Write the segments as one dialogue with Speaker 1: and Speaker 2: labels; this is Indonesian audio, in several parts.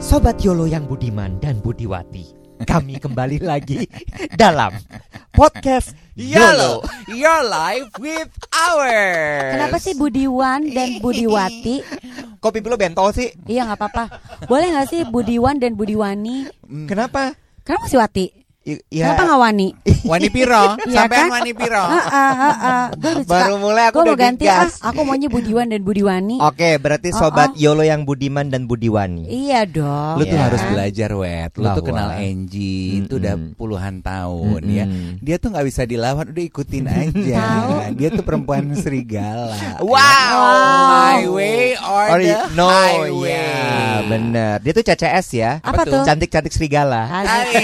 Speaker 1: Sobat Yolo yang budiman dan budiwati Kami kembali lagi dalam podcast Yolo
Speaker 2: your life with ours.
Speaker 3: Kenapa sih Budiwan dan Budiwati?
Speaker 2: Kopi dulu bentol sih.
Speaker 3: iya nggak apa-apa. Boleh nggak sih Budiwan dan Budiwani?
Speaker 2: Hmm.
Speaker 1: Kenapa?
Speaker 3: Kenapa masih Wati?
Speaker 1: I-
Speaker 3: Kenapa nggak Wani?
Speaker 2: ya, Wani piro,
Speaker 3: Iya
Speaker 2: sampean
Speaker 3: kan?
Speaker 2: wani piro.
Speaker 3: Ah, ah, ah, ah. Gua udah
Speaker 1: Baru
Speaker 3: suka.
Speaker 1: mulai aku
Speaker 3: Gua
Speaker 1: udah
Speaker 3: mau ganti ah.
Speaker 1: digas
Speaker 3: Aku maunya Budiwan dan Budiwani.
Speaker 1: Oke berarti Sobat Yolo yang budiman dan budiwani
Speaker 3: Iya dong.
Speaker 2: Lu tuh
Speaker 3: kan?
Speaker 2: harus belajar Oh, wet. Lu tuh
Speaker 1: Bahwa-
Speaker 2: kenal Angie itu udah
Speaker 1: Mm-mm.
Speaker 2: puluhan tahun ya.
Speaker 1: Mm-mm.
Speaker 2: Dia tuh nggak bisa dilawan, udah ikutin aja.
Speaker 3: Tahu.
Speaker 2: Dia tuh perempuan serigala.
Speaker 1: Wow.
Speaker 2: My way or,
Speaker 1: Or
Speaker 2: the
Speaker 1: no,
Speaker 2: highway.
Speaker 1: ya bener. Dia tuh CCS ya.
Speaker 3: Apa tuh?
Speaker 1: Cantik-cantik serigala.
Speaker 3: Asik.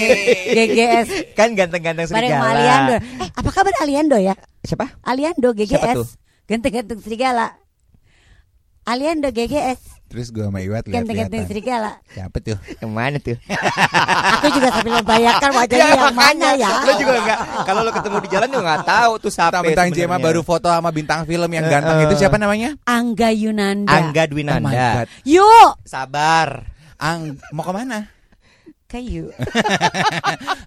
Speaker 3: GGS.
Speaker 1: Kan ganteng-ganteng
Speaker 3: Bareng
Speaker 1: serigala.
Speaker 3: sama Aliando. Eh, apa kabar Aliando ya?
Speaker 1: Siapa?
Speaker 3: Aliando
Speaker 1: Siapa tuh?
Speaker 3: GGS. Ganteng-ganteng serigala. Aliando GGS.
Speaker 2: Terus gua sama Iwat
Speaker 3: Ganteng-ganteng
Speaker 2: lihat-lihatan.
Speaker 3: serigala.
Speaker 2: Siapa tuh?
Speaker 1: Yang mana tuh?
Speaker 3: Aku juga sambil membayangkan wajahnya
Speaker 1: Ya,
Speaker 3: yang mana ya.
Speaker 1: Lo juga enggak. Kalau lo ketemu di jalan juga enggak tahu tuh siapa.
Speaker 2: Tentang Jema
Speaker 1: sebenarnya.
Speaker 2: baru foto sama bintang film yang ganteng itu siapa namanya?
Speaker 3: Angga Yunanda.
Speaker 1: Angga
Speaker 2: Oh my
Speaker 1: Dwinanda.
Speaker 2: God.
Speaker 3: Yuk.
Speaker 1: Sabar.
Speaker 2: Ang mau kemana?
Speaker 3: Kayu.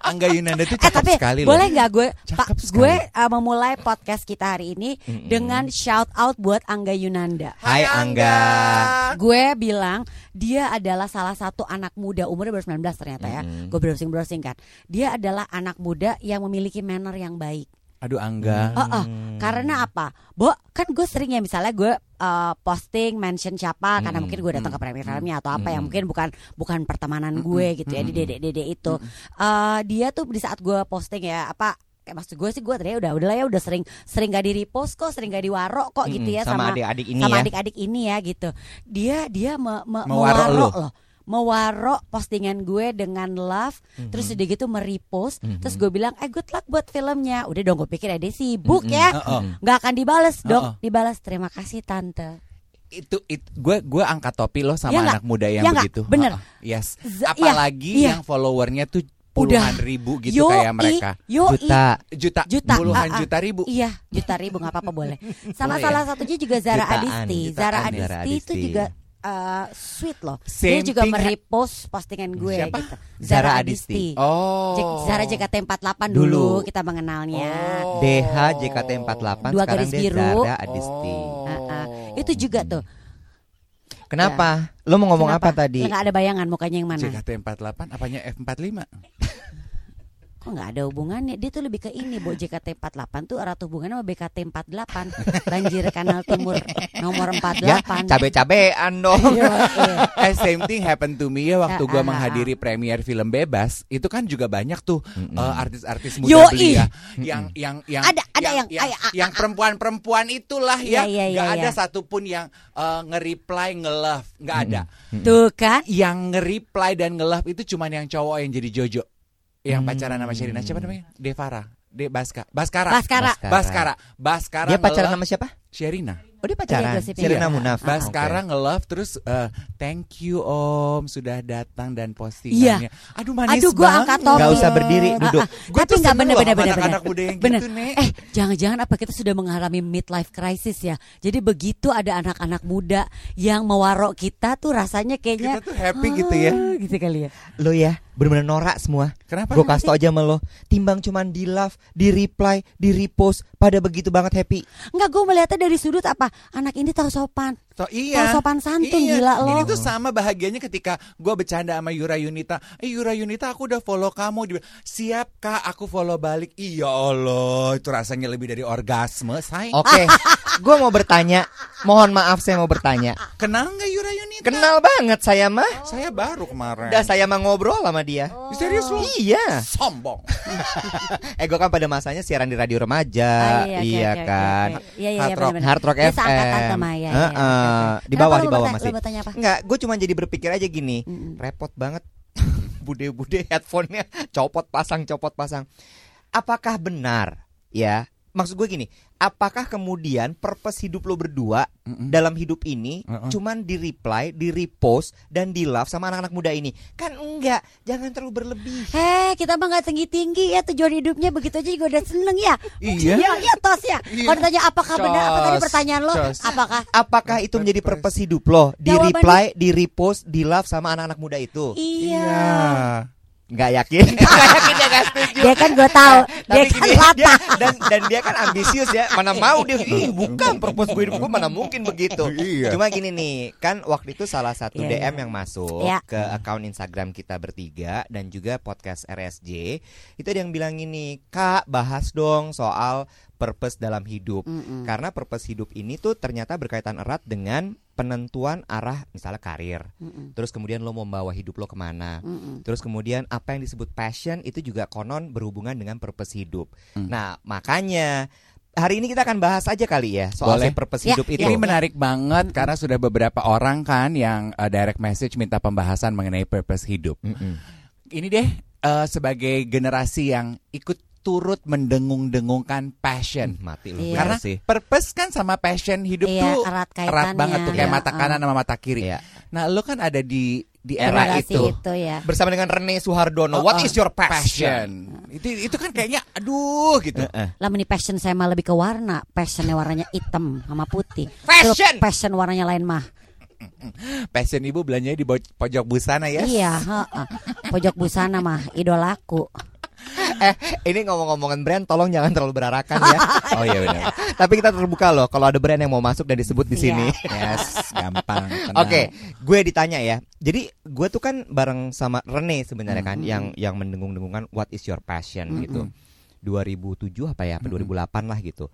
Speaker 2: Angga Yunanda tuh
Speaker 3: Eh
Speaker 2: cakep
Speaker 3: tapi
Speaker 2: sekali loh.
Speaker 3: boleh nggak gue
Speaker 2: Cakep
Speaker 3: Pak
Speaker 2: sekali.
Speaker 3: gue uh, memulai podcast kita hari ini dengan shout out buat Angga Yunanda.
Speaker 1: Hai Angga.
Speaker 3: Gue bilang dia adalah salah satu anak muda umurnya baru 19 ternyata ya. Gue browsing-browsing kan. Dia adalah anak muda yang memiliki manner yang baik.
Speaker 2: Aduh Angga.
Speaker 3: Oh, oh.
Speaker 1: Ah,
Speaker 3: Karena apa? Bo, kan gue sering ya misalnya gue eh, posting mention siapa karena mungkin gue datang ke premier filmnya atau apa yang mungkin bukan bukan pertemanan gue gitu ya di dede-dede itu. Eh, dia tuh di saat gue posting ya apa kayak maksud gue sih gue ternyata udah udah ya udah sering sering gak di repost kok, sering gak diwaro kok gitu ya
Speaker 1: Mm-mm, Mm-hmm.
Speaker 3: sama
Speaker 1: sama adik-adik ini
Speaker 3: sama
Speaker 1: ya.
Speaker 3: adik-adik ini ya gitu. Dia dia me, me-
Speaker 2: Mewaro
Speaker 3: mewaro
Speaker 2: lu.
Speaker 3: loh. Mewaro postingan gue dengan love, terus udah gitu merepost, terus gue bilang, "Eh good luck buat filmnya." Udah dong gue pikir ya dia sibuk ya.
Speaker 1: Oh.
Speaker 2: Heeh.
Speaker 3: nggak akan dibales, Dok.
Speaker 2: Heeh.
Speaker 3: Dibales, "Terima kasih, Tante."
Speaker 2: itu itu gue gue angkat topi lo sama
Speaker 3: Ya nggak?
Speaker 2: anak muda yang
Speaker 3: Ya nggak?
Speaker 2: begitu
Speaker 3: Bener.
Speaker 2: Ha-ha. yes
Speaker 3: Z- ya,
Speaker 2: apalagi
Speaker 3: iya.
Speaker 2: yang followernya tuh puluhan ribu
Speaker 3: Yoi,
Speaker 2: gitu kayak mereka
Speaker 3: yoi.
Speaker 1: Juta.
Speaker 2: juta,
Speaker 3: Juta.
Speaker 2: puluhan
Speaker 3: Ah, ah.
Speaker 2: juta ribu
Speaker 3: Iya, juta ribu nggak apa-apa boleh. Sama
Speaker 1: Boleh
Speaker 3: salah satunya juga Zara
Speaker 1: Jutaan,
Speaker 3: Adisti.
Speaker 1: jutaan
Speaker 3: Zara
Speaker 1: ya.
Speaker 3: Adisti,
Speaker 1: Zara
Speaker 3: itu
Speaker 1: Adisti.
Speaker 3: juga eh, sweet loh.
Speaker 2: Same
Speaker 3: dia juga
Speaker 2: thing.
Speaker 3: merepost postingan gue
Speaker 2: Siapa?
Speaker 3: gitu.
Speaker 1: Zara
Speaker 3: Zara
Speaker 1: Adisti.
Speaker 3: Adisti.
Speaker 2: oh
Speaker 3: Cek Zara JKT48 dulu,
Speaker 1: Dulu.
Speaker 3: kita mengenalnya.
Speaker 2: Oh.
Speaker 1: DH JKT48
Speaker 3: Dua
Speaker 1: sekarang
Speaker 3: garis
Speaker 1: dia
Speaker 3: biru.
Speaker 1: Zara Adisti.
Speaker 2: Oh.
Speaker 3: Ah, ah. Itu juga tuh.
Speaker 1: Kenapa? Lo mau ngomong
Speaker 3: Ya. Kenapa?
Speaker 1: apa tadi?
Speaker 3: Nggak ada bayangan mukanya yang mana.
Speaker 2: JKT48 apanya F45
Speaker 3: Kok nggak ada hubungannya? Dia tuh lebih ke ini, Bu. JKT48 tuh erat hubungannya sama BKT48. Banjir Kanal Timur nomor 48.
Speaker 1: Ya, cabe-cabean dong.
Speaker 3: Iya, iya.
Speaker 2: eh same thing happen to me ya waktu
Speaker 3: Ah,
Speaker 2: gue
Speaker 3: ah,
Speaker 2: menghadiri premier film bebas itu kan juga banyak tuh eh, artis-artis muda
Speaker 3: Yoi.
Speaker 2: belia yang yang yang
Speaker 3: Ada- ada yang-
Speaker 2: yang,
Speaker 3: ay- ah,
Speaker 2: yang perempuan-perempuan itulah
Speaker 3: Iya,
Speaker 2: ya
Speaker 3: iya, iya,
Speaker 2: nggak ada
Speaker 3: iya.
Speaker 2: satupun yang eh, nge-reply nge-love nggak ada
Speaker 3: Tuh kan?
Speaker 2: yang nge-reply dan nge-love itu cuman yang cowok yang jadi Jojo yang pacaran sama Sherina siapa namanya Devara De Baska Baskara
Speaker 3: Baskara.
Speaker 2: Baskara Baskara
Speaker 1: Dia pacaran
Speaker 2: nge-love
Speaker 1: sama siapa?
Speaker 2: Sherina
Speaker 1: Oh dia pacaran.
Speaker 3: Iya, gosipnya.
Speaker 1: Sherina
Speaker 3: Iya.
Speaker 1: Munaf. Ah,
Speaker 2: Bah
Speaker 1: oke.
Speaker 2: sekarang nge-love terus eh, thank you Om sudah datang dan postingannya. Aduh
Speaker 3: Iya.
Speaker 2: manis
Speaker 3: Aduh, gua
Speaker 2: banget.
Speaker 3: angkat topi.
Speaker 1: Nggak usah berdiri, duduk.
Speaker 2: Gua
Speaker 3: Tapi
Speaker 2: tuh
Speaker 3: nggak
Speaker 2: seneng
Speaker 3: bener
Speaker 2: loh
Speaker 3: bener
Speaker 2: sama
Speaker 3: bener
Speaker 2: anak-anak muda
Speaker 3: bener.
Speaker 2: yang
Speaker 3: Bener.
Speaker 2: gitu, Nek.
Speaker 3: Eh, jangan-jangan apa kita sudah mengalami midlife crisis ya? Jadi begitu ada anak-anak muda yang mewarok kita tuh rasanya
Speaker 2: Kita
Speaker 3: kayaknya
Speaker 2: tuh happy gitu ya.
Speaker 3: "Ah," gitu kali ya.
Speaker 1: Lo ya bener-bener norak semua.
Speaker 2: Kenapa?
Speaker 1: Gue kasih tau aja sama lo Timbang cuman di love Di reply Di repost Pada begitu banget happy
Speaker 3: Enggak, gue melihatnya dari sudut apa? Anak ini tahu sopan.
Speaker 2: So,
Speaker 3: Tahu
Speaker 2: iya.
Speaker 3: Oh, sopan santun, gila lo.
Speaker 2: Ini tuh sama bahagianya ketika gua bercanda sama Yura Yunita. Eh Yura Yunita aku udah follow kamu. Dia bilang, Siap kak aku follow balik. Iya Allah itu rasanya lebih dari orgasme. Say.
Speaker 3: Oh.
Speaker 1: Oke Gue mau bertanya Mohon maaf saya mau bertanya
Speaker 2: Kenal nggak Yura Yunita?
Speaker 1: Kenal banget saya mah
Speaker 2: Saya baru kemarin.
Speaker 1: Udah saya mah ngobrol sama dia
Speaker 2: Serius
Speaker 3: Oh.
Speaker 2: lu?
Speaker 1: Iya
Speaker 2: Sombong.
Speaker 1: Eh gue kan pada masanya siaran di radio
Speaker 3: Ah,
Speaker 1: remaja
Speaker 3: oke,
Speaker 1: Iya
Speaker 3: oke, oke,
Speaker 1: kan
Speaker 3: oke. Iya iya iya
Speaker 2: Hard Rock-
Speaker 3: benar-benar.
Speaker 1: Hard Rock
Speaker 3: Dia
Speaker 1: FM.
Speaker 3: seangkatan sama ya. iya,
Speaker 1: Heeh.
Speaker 3: oke, oke.
Speaker 1: Di bawah,
Speaker 3: Kenapa
Speaker 1: di
Speaker 3: lu
Speaker 1: bawah
Speaker 3: bertanya-
Speaker 1: masih.
Speaker 3: Lu bertanya apa?
Speaker 1: Enggak, gue cuma jadi berpikir aja gini,
Speaker 3: Hmm.
Speaker 1: repot banget. Bude-bude headphonenya copot pasang, copot pasang. Apakah benar ya? Maksud gue gini, apakah kemudian purpose hidup lo berdua
Speaker 3: Hmm.
Speaker 2: Mm-mm.
Speaker 1: dalam hidup ini
Speaker 2: Mm-mm.
Speaker 1: cuman di reply, di repost dan di love sama anak-anak muda ini? Kan enggak, jangan terlalu berlebih.
Speaker 3: Heh, Eh, kita mah nggak tinggi tinggi ya tujuan hidupnya begitu aja juga udah seneng ya.
Speaker 2: Iya.
Speaker 3: Iya, iya, tos ya.
Speaker 2: Iya.
Speaker 3: Kalau ditanya apakah benar apa tadi
Speaker 2: Cos,
Speaker 3: pertanyaan lo?
Speaker 2: cos.
Speaker 3: Apakah?
Speaker 1: Apakah itu menjadi purpose hidup lo? Di
Speaker 3: Jawabannya-
Speaker 1: reply, di repost, di love sama anak-anak muda itu?
Speaker 3: Iya.
Speaker 1: Nggak yakin. Nggak yakin ya guys.
Speaker 3: Dia kan gue tahu. Dia
Speaker 1: Tapi
Speaker 3: kan
Speaker 1: gini,
Speaker 3: latah.
Speaker 1: dia- dan dan dia kan ambisius ya. Mana mau dia ih bukan propose gue hidup gue mana mungkin begitu.
Speaker 2: Iya.
Speaker 1: Cuma gini nih, kan waktu itu salah satu
Speaker 3: Iya,
Speaker 1: DM yang masuk
Speaker 3: Iya.
Speaker 1: ke account Instagram kita bertiga dan juga podcast RSJ, itu ada yang bilang gini, "Kak, bahas dong soal purpose dalam hidup."
Speaker 3: Mm-mm.
Speaker 1: Karena purpose hidup ini tuh ternyata berkaitan erat dengan penentuan arah misalnya karir.
Speaker 3: Mm-mm.
Speaker 1: Terus kemudian lo membawa hidup lo kemana
Speaker 3: Mm-mm.
Speaker 1: Terus kemudian apa yang disebut passion itu juga konon berhubungan dengan purpose hidup.
Speaker 2: Hmm.
Speaker 1: Nah, makanya hari ini kita akan bahas aja kali ya soal
Speaker 2: Boleh.
Speaker 1: si purpose
Speaker 3: Ya,
Speaker 1: hidup itu.
Speaker 2: Ini menarik banget karena sudah beberapa orang kan yang eh, direct message minta pembahasan mengenai purpose hidup.
Speaker 1: Mm-mm.
Speaker 2: Ini deh eh, sebagai generasi yang ikut turut mendengung-dengungkan
Speaker 1: Hmm,
Speaker 2: passion.
Speaker 1: Mati lu
Speaker 3: Iya.
Speaker 1: bener
Speaker 2: Karena
Speaker 1: sih.
Speaker 2: purpose kan sama passion hidup
Speaker 3: Iya,
Speaker 2: tuh
Speaker 3: erat
Speaker 2: erat
Speaker 3: kaitannya.
Speaker 2: banget tuh kayak
Speaker 3: Iya,
Speaker 2: mata kanan
Speaker 3: uh,
Speaker 2: sama mata kiri.
Speaker 1: Iya.
Speaker 2: Nah, lu kan ada di di era
Speaker 3: generasi
Speaker 2: itu.
Speaker 3: itu ya.
Speaker 1: Bersama dengan Rene Suhardono,
Speaker 2: Oh,
Speaker 1: what
Speaker 2: oh,
Speaker 1: is your passion?
Speaker 2: Passion. Itu itu kan kayaknya aduh gitu.
Speaker 3: Lama nih passion saya mah lebih ke warna. Passionnya warnanya hitam sama putih.
Speaker 1: Fashion!
Speaker 3: Kalau passion warnanya lain mah.
Speaker 2: Passion Ibu belanjanya di bo- pojok busana ya.
Speaker 3: Iya, heeh. Pojok busana mah idolaku.
Speaker 1: Eh, ini ngomong-ngomongan brand tolong jangan terlalu berarakan ya. oh iya benar. Tapi kita terbuka loh kalau ada brand yang mau masuk dan disebut di sini.
Speaker 3: Iya.
Speaker 2: Yes, gampang. tenang.
Speaker 1: Oke, gue ditanya ya. Jadi gue tuh kan bareng sama Rene sebenarnya kan
Speaker 2: Mm-hmm.
Speaker 1: yang yang mendengung-dengungkan what is your passion gitu. 2007 apa ya?
Speaker 2: Mm-hmm.
Speaker 1: Apa 2008 lah gitu.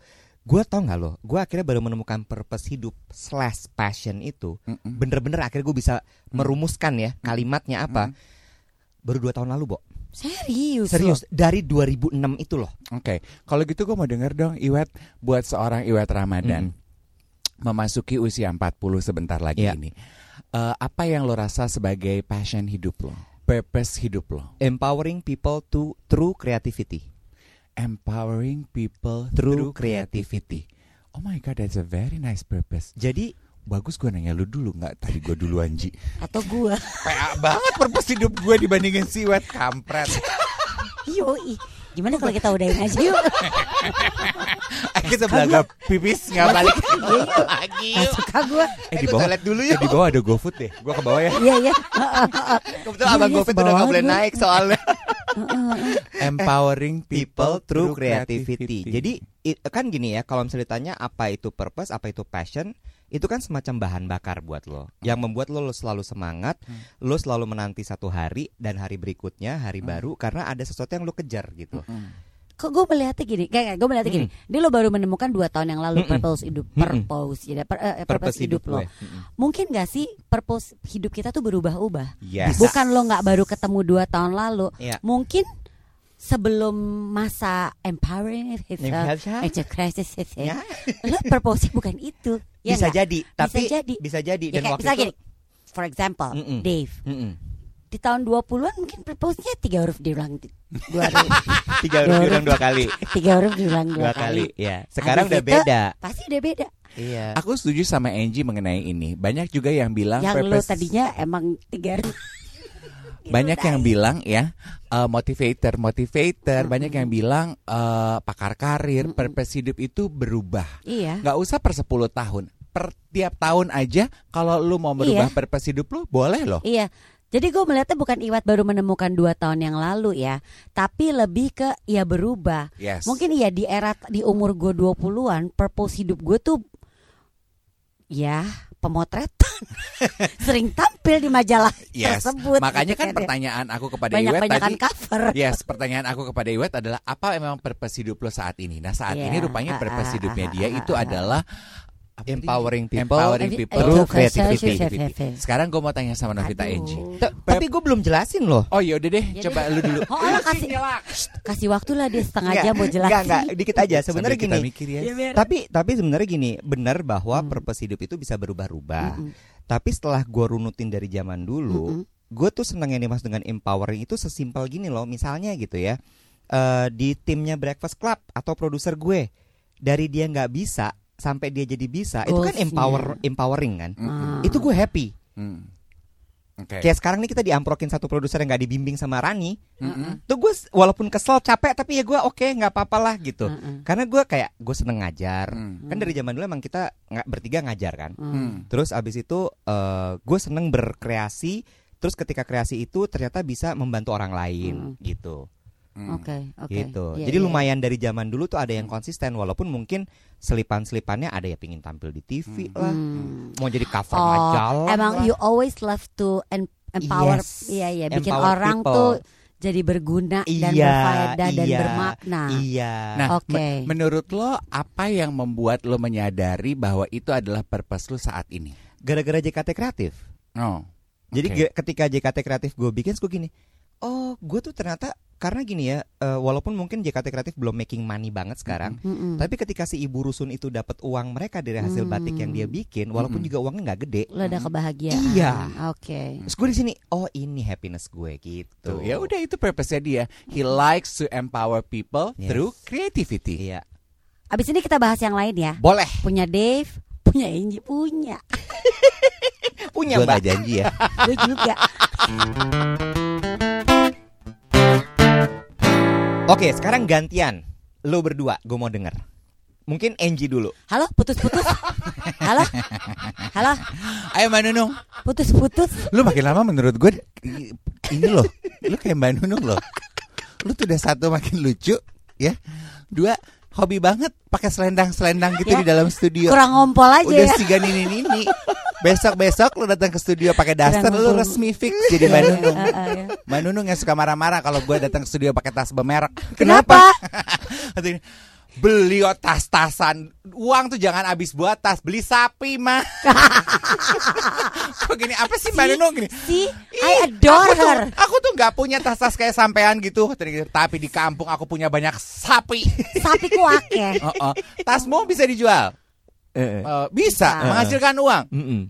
Speaker 1: Gue tau nggak loh, gue akhirnya baru menemukan purpose hidup slash passion itu
Speaker 2: Mm-mm.
Speaker 1: bener-bener akhirnya gue bisa
Speaker 2: Mm-hmm.
Speaker 1: merumuskan ya kalimatnya apa. Baru dua tahun lalu, Bo.
Speaker 3: Serius.
Speaker 1: Serius, dari 2006 itu loh.
Speaker 2: Oke, kalau gitu gue mau denger dong Iwet buat seorang Iwet Ramadan memasuki usia 40 sebentar lagi
Speaker 1: Iya.
Speaker 2: ini. Eh, apa yang lo rasa sebagai passion hidup lo? Purpose hidup lo?
Speaker 1: Empowering people to through creativity.
Speaker 2: Empowering people
Speaker 1: Through
Speaker 2: through, creativity. Oh my god, that's a very nice purpose.
Speaker 1: Jadi
Speaker 2: Bagus gue nanya lu dulu nggak tadi gue duluan Ji.
Speaker 3: Atau gua.
Speaker 2: PA banget purpose hidup gue dibandingin si Iwet kampret.
Speaker 3: Yoi. Gimana kalau kita udahin aja yuk?
Speaker 2: Kita belaga pipis nggak balik lagi.
Speaker 3: Gak suka gua.
Speaker 2: Eh di bawah
Speaker 1: dulu
Speaker 2: Eh, di bawah ada GoFood deh. Gue ke bawah ya.
Speaker 3: Iya, iya.
Speaker 1: Kebetulan
Speaker 3: Iya,
Speaker 1: abang
Speaker 3: iya,
Speaker 1: gue udah
Speaker 3: sebawah
Speaker 1: nggak boleh
Speaker 3: gue.
Speaker 1: naik soalnya.
Speaker 3: Eh,
Speaker 2: Empowering
Speaker 1: People through creativity. Jadi i- kan gini ya, kalau misalnya ditanya apa itu purpose, apa itu passion, itu kan semacam bahan bakar buat lo. Yang membuat lo, lo selalu semangat,
Speaker 3: Hmm.
Speaker 1: lo selalu menanti satu hari dan hari berikutnya, hari
Speaker 3: Hmm.
Speaker 1: baru karena ada sesuatu yang lo kejar gitu.
Speaker 3: Kok gue melihatnya gini, kayak gue melihatnya gini. Dia lo baru menemukan dua tahun yang lalu purpose hidup, purpose, jadi per- eh, purpose, hidup, lo.
Speaker 1: gue. Mm-mm.
Speaker 3: Mungkin gak sih purpose hidup kita tuh berubah-ubah?
Speaker 1: Yes.
Speaker 3: Bukan lo nggak baru ketemu dua tahun lalu.
Speaker 1: Iya.
Speaker 3: Mungkin sebelum masa empowering, it's a,
Speaker 1: Bisa-
Speaker 3: it's a crisis, it's a-
Speaker 1: Ya.
Speaker 3: lo purpose bukan itu. Ya eh,
Speaker 1: bisa
Speaker 3: nggak?
Speaker 1: jadi, tapi
Speaker 3: bisa jadi.
Speaker 1: bisa jadi.
Speaker 3: Ya,
Speaker 1: dan
Speaker 3: kayak
Speaker 1: waktu
Speaker 3: misalnya
Speaker 1: itu
Speaker 3: gini, for example,
Speaker 1: Mm-mm.
Speaker 3: Dave
Speaker 1: Mm-mm.
Speaker 3: di tahun 20-an mungkin purpose-nya tiga huruf diulang di- dua huruf,
Speaker 1: tiga huruf
Speaker 3: Ah, Dua
Speaker 1: diulang dua kali,
Speaker 3: tiga huruf diulang dua,
Speaker 1: dua kali. Ya,
Speaker 3: Habis
Speaker 1: sekarang udah
Speaker 3: itu-
Speaker 1: beda.
Speaker 3: Pasti udah beda.
Speaker 1: Iya.
Speaker 2: Aku setuju sama Angie mengenai ini. Banyak juga yang bilang
Speaker 3: yang lo
Speaker 2: Ah, purpose-
Speaker 3: tadinya emang tiga huruf.
Speaker 2: banyak yang bilang ya uh, motivator, motivator, banyak yang bilang uh, pakar karir, purpose hidup itu berubah.
Speaker 3: Iya.
Speaker 2: Nggak usah per 10 tahun. Per tiap tahun aja kalau lu mau merubah purpose hidup lu boleh loh.
Speaker 3: Iya. Jadi gue melihatnya bukan Iwat baru menemukan dua tahun yang lalu ya, tapi lebih ke ia berubah.
Speaker 2: Yes.
Speaker 3: Mungkin iya di era di umur gue 20-an, purpose hidup gue tuh ya pemotretan. Sering tampil di majalah
Speaker 2: Yes.
Speaker 3: tersebut.
Speaker 2: Makanya
Speaker 3: gitu
Speaker 2: kan
Speaker 3: ya.
Speaker 2: pertanyaan aku kepada Iwet
Speaker 3: banyak-banyakan
Speaker 2: tadi
Speaker 3: cover.
Speaker 1: Iya,
Speaker 2: Yes, pertanyaan aku kepada Iwet adalah apa memang purpose hidup lo saat ini? Nah, saat
Speaker 3: Iya.
Speaker 2: ini rupanya
Speaker 3: Ah,
Speaker 2: purpose
Speaker 3: ah,
Speaker 2: hidupnya
Speaker 3: ah,
Speaker 2: dia
Speaker 3: ah,
Speaker 2: itu
Speaker 3: ah, ah.
Speaker 2: adalah apa tadi?
Speaker 1: Empowering people.
Speaker 2: empowering
Speaker 3: Every-
Speaker 2: people
Speaker 1: Through
Speaker 3: every creativity.
Speaker 2: creativity. Sekarang gue mau tanya sama Novita
Speaker 3: Aduh.
Speaker 2: Angie.
Speaker 1: Ta- Tapi gue belum jelasin loh.
Speaker 2: Oh iya udah deh,
Speaker 3: Ya
Speaker 2: coba
Speaker 3: deh.
Speaker 2: lu dulu.
Speaker 3: Oh, Allah kasih Shh, kasih waktu lah dia setengah
Speaker 1: Nggak,
Speaker 3: jam buat jelasin.
Speaker 1: nggak, nggak, dikit aja. Sebenarnya
Speaker 2: Sambil kita
Speaker 1: gini.
Speaker 2: mikir ya.
Speaker 1: Tapi tapi sebenarnya gini, benar bahwa purpose hidup itu bisa berubah-ubah.
Speaker 3: Hmm.
Speaker 1: Tapi setelah gue runutin dari zaman dulu, gue tuh seneng yang dimaksud dengan empowering itu sesimpel gini loh. Misalnya gitu ya, eh, di timnya Breakfast Club atau produser gue, dari dia nggak bisa sampai dia jadi bisa itu kan
Speaker 3: Goalsnya.
Speaker 1: empower empowering kan
Speaker 3: Ah.
Speaker 1: itu gue happy
Speaker 2: Hmm. Oke.
Speaker 1: kayak sekarang nih kita diamprokin satu produser yang nggak dibimbing sama Rani tuh gue s- walaupun kesel capek tapi ya gue oke nggak apa-apa lah gitu
Speaker 3: Mm-mm.
Speaker 1: karena gue kayak gue seneng ngajar
Speaker 2: Hmm.
Speaker 1: kan dari zaman dulu emang kita nggak bertiga ngajar kan
Speaker 3: Hmm.
Speaker 1: terus abis itu gue seneng berkreasi terus ketika kreasi itu ternyata bisa membantu orang lain gitu
Speaker 2: Hmm.
Speaker 3: Oke, oke.
Speaker 1: gitu.
Speaker 3: Iya,
Speaker 1: Jadi
Speaker 3: iya. Hmm.
Speaker 1: lumayan dari zaman dulu tuh ada yang konsisten walaupun mungkin selipan-selipannya ada ya pingin tampil di TV lah,
Speaker 3: Hmm.
Speaker 1: mau jadi cover
Speaker 3: Oh,
Speaker 1: majalah.
Speaker 3: emang
Speaker 1: lah.
Speaker 3: you always love to em- empower,
Speaker 1: Yes.
Speaker 3: iya iya, bikin
Speaker 1: Empower
Speaker 3: orang
Speaker 1: people.
Speaker 3: tuh jadi berguna dan
Speaker 1: Iya,
Speaker 3: berfaedah dan
Speaker 1: iya,
Speaker 3: bermakna.
Speaker 1: Iya.
Speaker 2: Nah,
Speaker 3: Oke.
Speaker 2: me- menurut lo apa yang membuat lo menyadari bahwa itu adalah purpose lo saat ini?
Speaker 1: gara-gara JKT kreatif.
Speaker 2: Oh.
Speaker 1: Jadi
Speaker 2: Oke.
Speaker 1: ge- ketika JKT kreatif gue bikin gue gini, oh gue tuh ternyata karena gini ya, eh, walaupun mungkin JKT kreatif belum making money banget sekarang,
Speaker 3: Mm-mm.
Speaker 1: tapi ketika si ibu rusun itu dapat uang mereka dari hasil
Speaker 3: Hmm.
Speaker 1: batik yang dia bikin, walaupun
Speaker 2: Mm. Mm-mm.
Speaker 1: juga uangnya nggak gede,
Speaker 3: Lo ada kebahagiaan.
Speaker 1: Iya.
Speaker 3: Oke.
Speaker 1: terus gue di sini, oh ini happiness gue gitu.
Speaker 2: Tuh, ya udah itu purpose-nya dia. He likes to empower people
Speaker 1: Yes.
Speaker 2: through creativity.
Speaker 1: Iya.
Speaker 3: Abis ini kita bahas yang lain ya.
Speaker 1: Boleh.
Speaker 3: Punya Dave, punya Inji, punya.
Speaker 1: Punya
Speaker 2: Gue
Speaker 1: Mbak.
Speaker 2: gak janji ya.
Speaker 3: Gue juga.
Speaker 1: Oke, sekarang gantian. Lu berdua, gue mau denger. Mungkin Angie dulu.
Speaker 3: Halo, putus-putus. Halo, halo,
Speaker 2: Ayo Mbak Nunung,
Speaker 3: putus-putus.
Speaker 2: lu makin lama menurut gue i- ini loh, lu kayak Mbak Nunung loh. Lu tuh udah satu makin lucu, ya. Dua hobi banget pakai selendang-selendang gitu
Speaker 3: Ya.
Speaker 2: di dalam
Speaker 1: Iya.
Speaker 2: studio.
Speaker 3: Kurang ngompol aja
Speaker 2: Udah
Speaker 3: ya.
Speaker 2: tiga nini nini. Besok besok lu datang ke studio pakai daster,
Speaker 3: Kurang
Speaker 2: lu
Speaker 3: ngompol.
Speaker 2: resmi fix jadi Mbak Nunung.
Speaker 3: Eh, eh, eh.
Speaker 2: Mbak Nunung yang suka marah-marah kalau gue datang ke studio pakai tas bermerek.
Speaker 3: Kenapa?
Speaker 2: Kata ini, Beli oh, tas-tasan Uang tuh jangan habis buat tas Beli sapi mah Kok gini apa sih Mbak Nunung gini
Speaker 3: Si, I
Speaker 2: "Ih,
Speaker 3: adore
Speaker 2: aku tuh,
Speaker 3: her.
Speaker 2: Aku tuh gak punya tas-tas kayak sampean gitu Kata dia, Tapi di kampung aku punya banyak sapi
Speaker 3: Sapi kuak ya.
Speaker 2: Oh, oh. Tasmu bisa dijual Eh, Bisa
Speaker 3: Bisa.
Speaker 2: menghasilkan uang
Speaker 1: Mm-mm.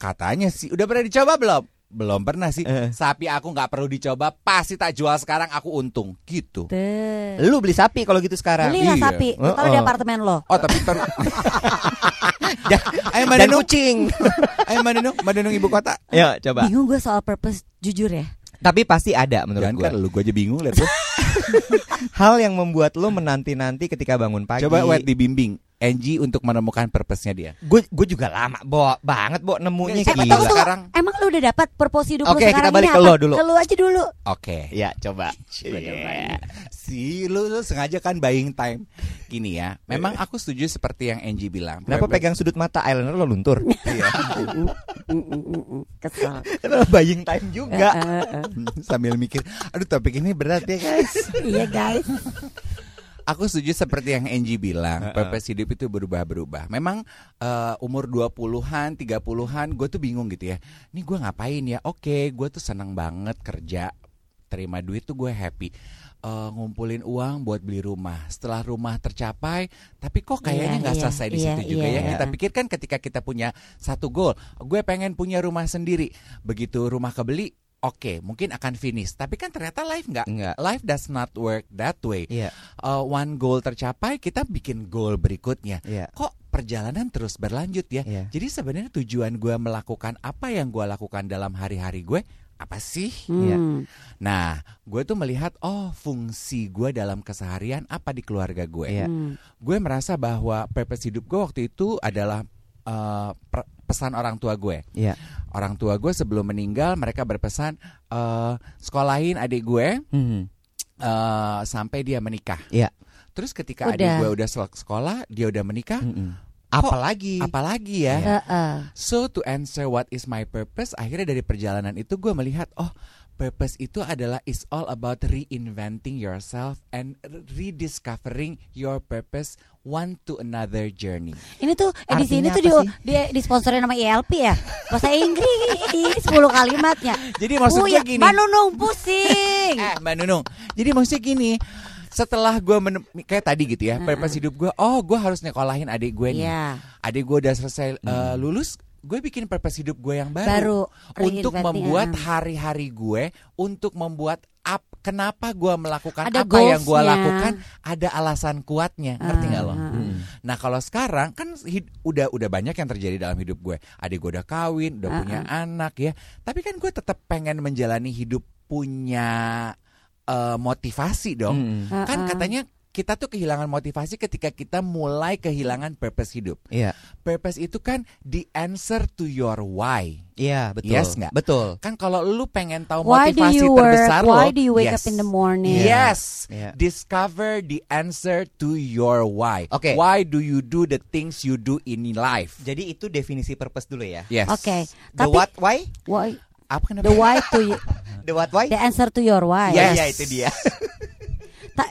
Speaker 2: Katanya sih udah pernah dicoba belum? Belum pernah sih
Speaker 1: Eh.
Speaker 2: Sapi aku gak perlu dicoba Pasti tak jual sekarang aku untung Gitu
Speaker 3: Tuh.
Speaker 1: Lu beli sapi kalau gitu sekarang.
Speaker 3: Beli lah
Speaker 2: Iya.
Speaker 3: sapi, lu taruh di
Speaker 1: Heeh.
Speaker 3: apartemen lo.
Speaker 2: Oh tapi ter Ya,
Speaker 1: Dan-
Speaker 2: Ayo Mbak
Speaker 1: Dan
Speaker 2: Nunung
Speaker 1: kucing.
Speaker 2: Ayo Mbak Nunung, Mbak Nunung ibu kota.
Speaker 1: Yuk, coba.
Speaker 3: Bingung gue soal purpose jujur ya.
Speaker 1: Tapi pasti ada menurut
Speaker 2: Jangan
Speaker 1: gue.
Speaker 2: kan lu, gue aja bingung liat lu.
Speaker 1: Hal yang membuat lu menanti-nanti ketika bangun pagi.
Speaker 2: Coba wet dibimbing Angie untuk menemukan purpose-nya dia.
Speaker 1: Gue gue juga lama, bo banget, bo nemunya
Speaker 3: Eh,
Speaker 2: Eh, Gila.
Speaker 3: tunggu,
Speaker 1: gila.
Speaker 3: tunggu.
Speaker 2: Sekarang.
Speaker 3: Emang lu udah dapat purpose hidup lu
Speaker 1: Oke,
Speaker 3: sekarang
Speaker 1: kita balik
Speaker 3: ini
Speaker 1: ke
Speaker 3: apa?
Speaker 1: lo dulu.
Speaker 3: Ke lu aja dulu.
Speaker 2: Oke.
Speaker 1: Ya, coba. Iya.
Speaker 2: Si lu, lu sengaja kan buying time. Gini ya, memang aku setuju seperti yang Angie bilang.
Speaker 1: Iya. Kenapa
Speaker 2: Purpose-
Speaker 1: pegang sudut mata eyeliner lo luntur?
Speaker 2: Iya.
Speaker 3: Kesel. Eh,
Speaker 1: Kenapa buying time juga?
Speaker 2: Sambil mikir, aduh topik ini berat ya guys.
Speaker 3: Iya guys.
Speaker 2: Aku setuju seperti yang Angie bilang, purpose hidup itu berubah-berubah. Memang eh, umur 20-an, 30-an gue tuh bingung gitu ya. Ini gue ngapain ya? Oke, gue tuh seneng banget kerja. Terima duit tuh gue happy. Eh, ngumpulin uang buat beli rumah. Setelah rumah tercapai, tapi kok
Speaker 3: Iya,
Speaker 2: kayaknya nggak
Speaker 3: iya,
Speaker 2: selesai di
Speaker 3: iya,
Speaker 2: situ juga
Speaker 3: iya.
Speaker 2: ya. Kita pikirkan ketika kita punya satu goal, gue pengen punya rumah sendiri. Begitu rumah kebeli, oke, mungkin akan finish. Tapi kan ternyata life nggak,
Speaker 1: Enggak.
Speaker 2: life does not work that way
Speaker 1: Iya,
Speaker 2: uh, one goal tercapai, kita bikin goal berikutnya.
Speaker 1: iya.
Speaker 2: Kok perjalanan terus berlanjut ya?
Speaker 1: Iya.
Speaker 2: Jadi sebenarnya tujuan gue melakukan apa yang gue lakukan dalam hari-hari gue apa sih?
Speaker 1: Iya.
Speaker 3: Hmm.
Speaker 2: Nah, gue tuh melihat oh fungsi gue dalam keseharian apa di keluarga gue.
Speaker 1: Iya.
Speaker 3: Hmm.
Speaker 2: Gue merasa bahwa purpose hidup gue waktu itu adalah uh, per- pesan orang tua gue
Speaker 1: Iya.
Speaker 2: orang tua gue sebelum meninggal mereka berpesan eh sekolahin adik gue
Speaker 1: Hmm.
Speaker 2: eh, sampai dia menikah.
Speaker 1: Iya.
Speaker 2: Terus ketika adik
Speaker 3: Udah. Hmm.
Speaker 2: gue udah sel- sekolah, dia udah menikah,
Speaker 1: Mm-mm. Apalagi
Speaker 2: apalagi
Speaker 1: Iya.
Speaker 2: ya?
Speaker 3: Eh, eh.
Speaker 2: So to answer what is my purpose, akhirnya dari perjalanan itu gue melihat oh purpose itu adalah is all about reinventing yourself and rediscovering your purpose one to another journey.
Speaker 3: Ini tuh edisi ini
Speaker 1: Artinya
Speaker 3: tuh di,
Speaker 1: apa
Speaker 3: di disponsorin sama ILP ya. Bahasa Inggris 10 kalimatnya.
Speaker 2: Jadi maksud gue
Speaker 3: Uya,
Speaker 2: gini.
Speaker 3: Oh, iya, Mbak Nunung pusing. Iya.
Speaker 2: Eh, Mbak Nunung. Jadi maksudnya gini, setelah gue menem- kayak tadi gitu ya, purpose hidup gue, oh gue harus nyekolahin adik gue nih.
Speaker 3: Iya.
Speaker 2: Adik gue udah selesai eh, lulus, gue bikin purpose hidup gue yang baru,
Speaker 3: Baru, oh
Speaker 2: untuk
Speaker 3: reinventing,
Speaker 2: membuat
Speaker 3: ah.
Speaker 2: hari-hari gue, untuk membuat up, kenapa gue melakukan
Speaker 3: Ada
Speaker 2: apa yang gue
Speaker 3: goals-nya.
Speaker 2: lakukan, ada alasan kuatnya, ngerti nggak lo?
Speaker 3: Ah, ah, ah.
Speaker 2: Nah kalau sekarang kan hid- udah udah banyak yang terjadi dalam hidup gue. Adik gue udah kawin, udah
Speaker 3: Ah,
Speaker 2: punya anak ya. Tapi kan gue tetap pengen menjalani hidup punya eh, motivasi dong.
Speaker 1: Mm.
Speaker 3: Heeh.
Speaker 2: Kan katanya kita tuh kehilangan motivasi ketika kita mulai kehilangan purpose hidup.
Speaker 1: Iya,
Speaker 2: Purpose itu kan the answer to your why.
Speaker 1: iya betul.
Speaker 2: Yes, nggak?
Speaker 1: Betul.
Speaker 2: Kan kalau lu pengen tahu
Speaker 3: Why do
Speaker 2: motivasi
Speaker 3: you work?
Speaker 2: terbesar lo,
Speaker 3: Why do you wake
Speaker 2: yes. Iya.
Speaker 3: up in the morning?
Speaker 2: Yes,
Speaker 1: Yeah.
Speaker 2: discover the answer to your why.
Speaker 1: Okay.
Speaker 2: why do you do the things you do in life?
Speaker 1: Jadi itu definisi purpose dulu ya.
Speaker 2: Yes.
Speaker 3: Oke.
Speaker 1: The
Speaker 3: Tapi
Speaker 1: what why?
Speaker 3: why-
Speaker 2: Apa kenapa?
Speaker 3: the why to you,
Speaker 1: The what why?
Speaker 3: the answer to your why.
Speaker 2: Yes.
Speaker 1: Iya, itu dia.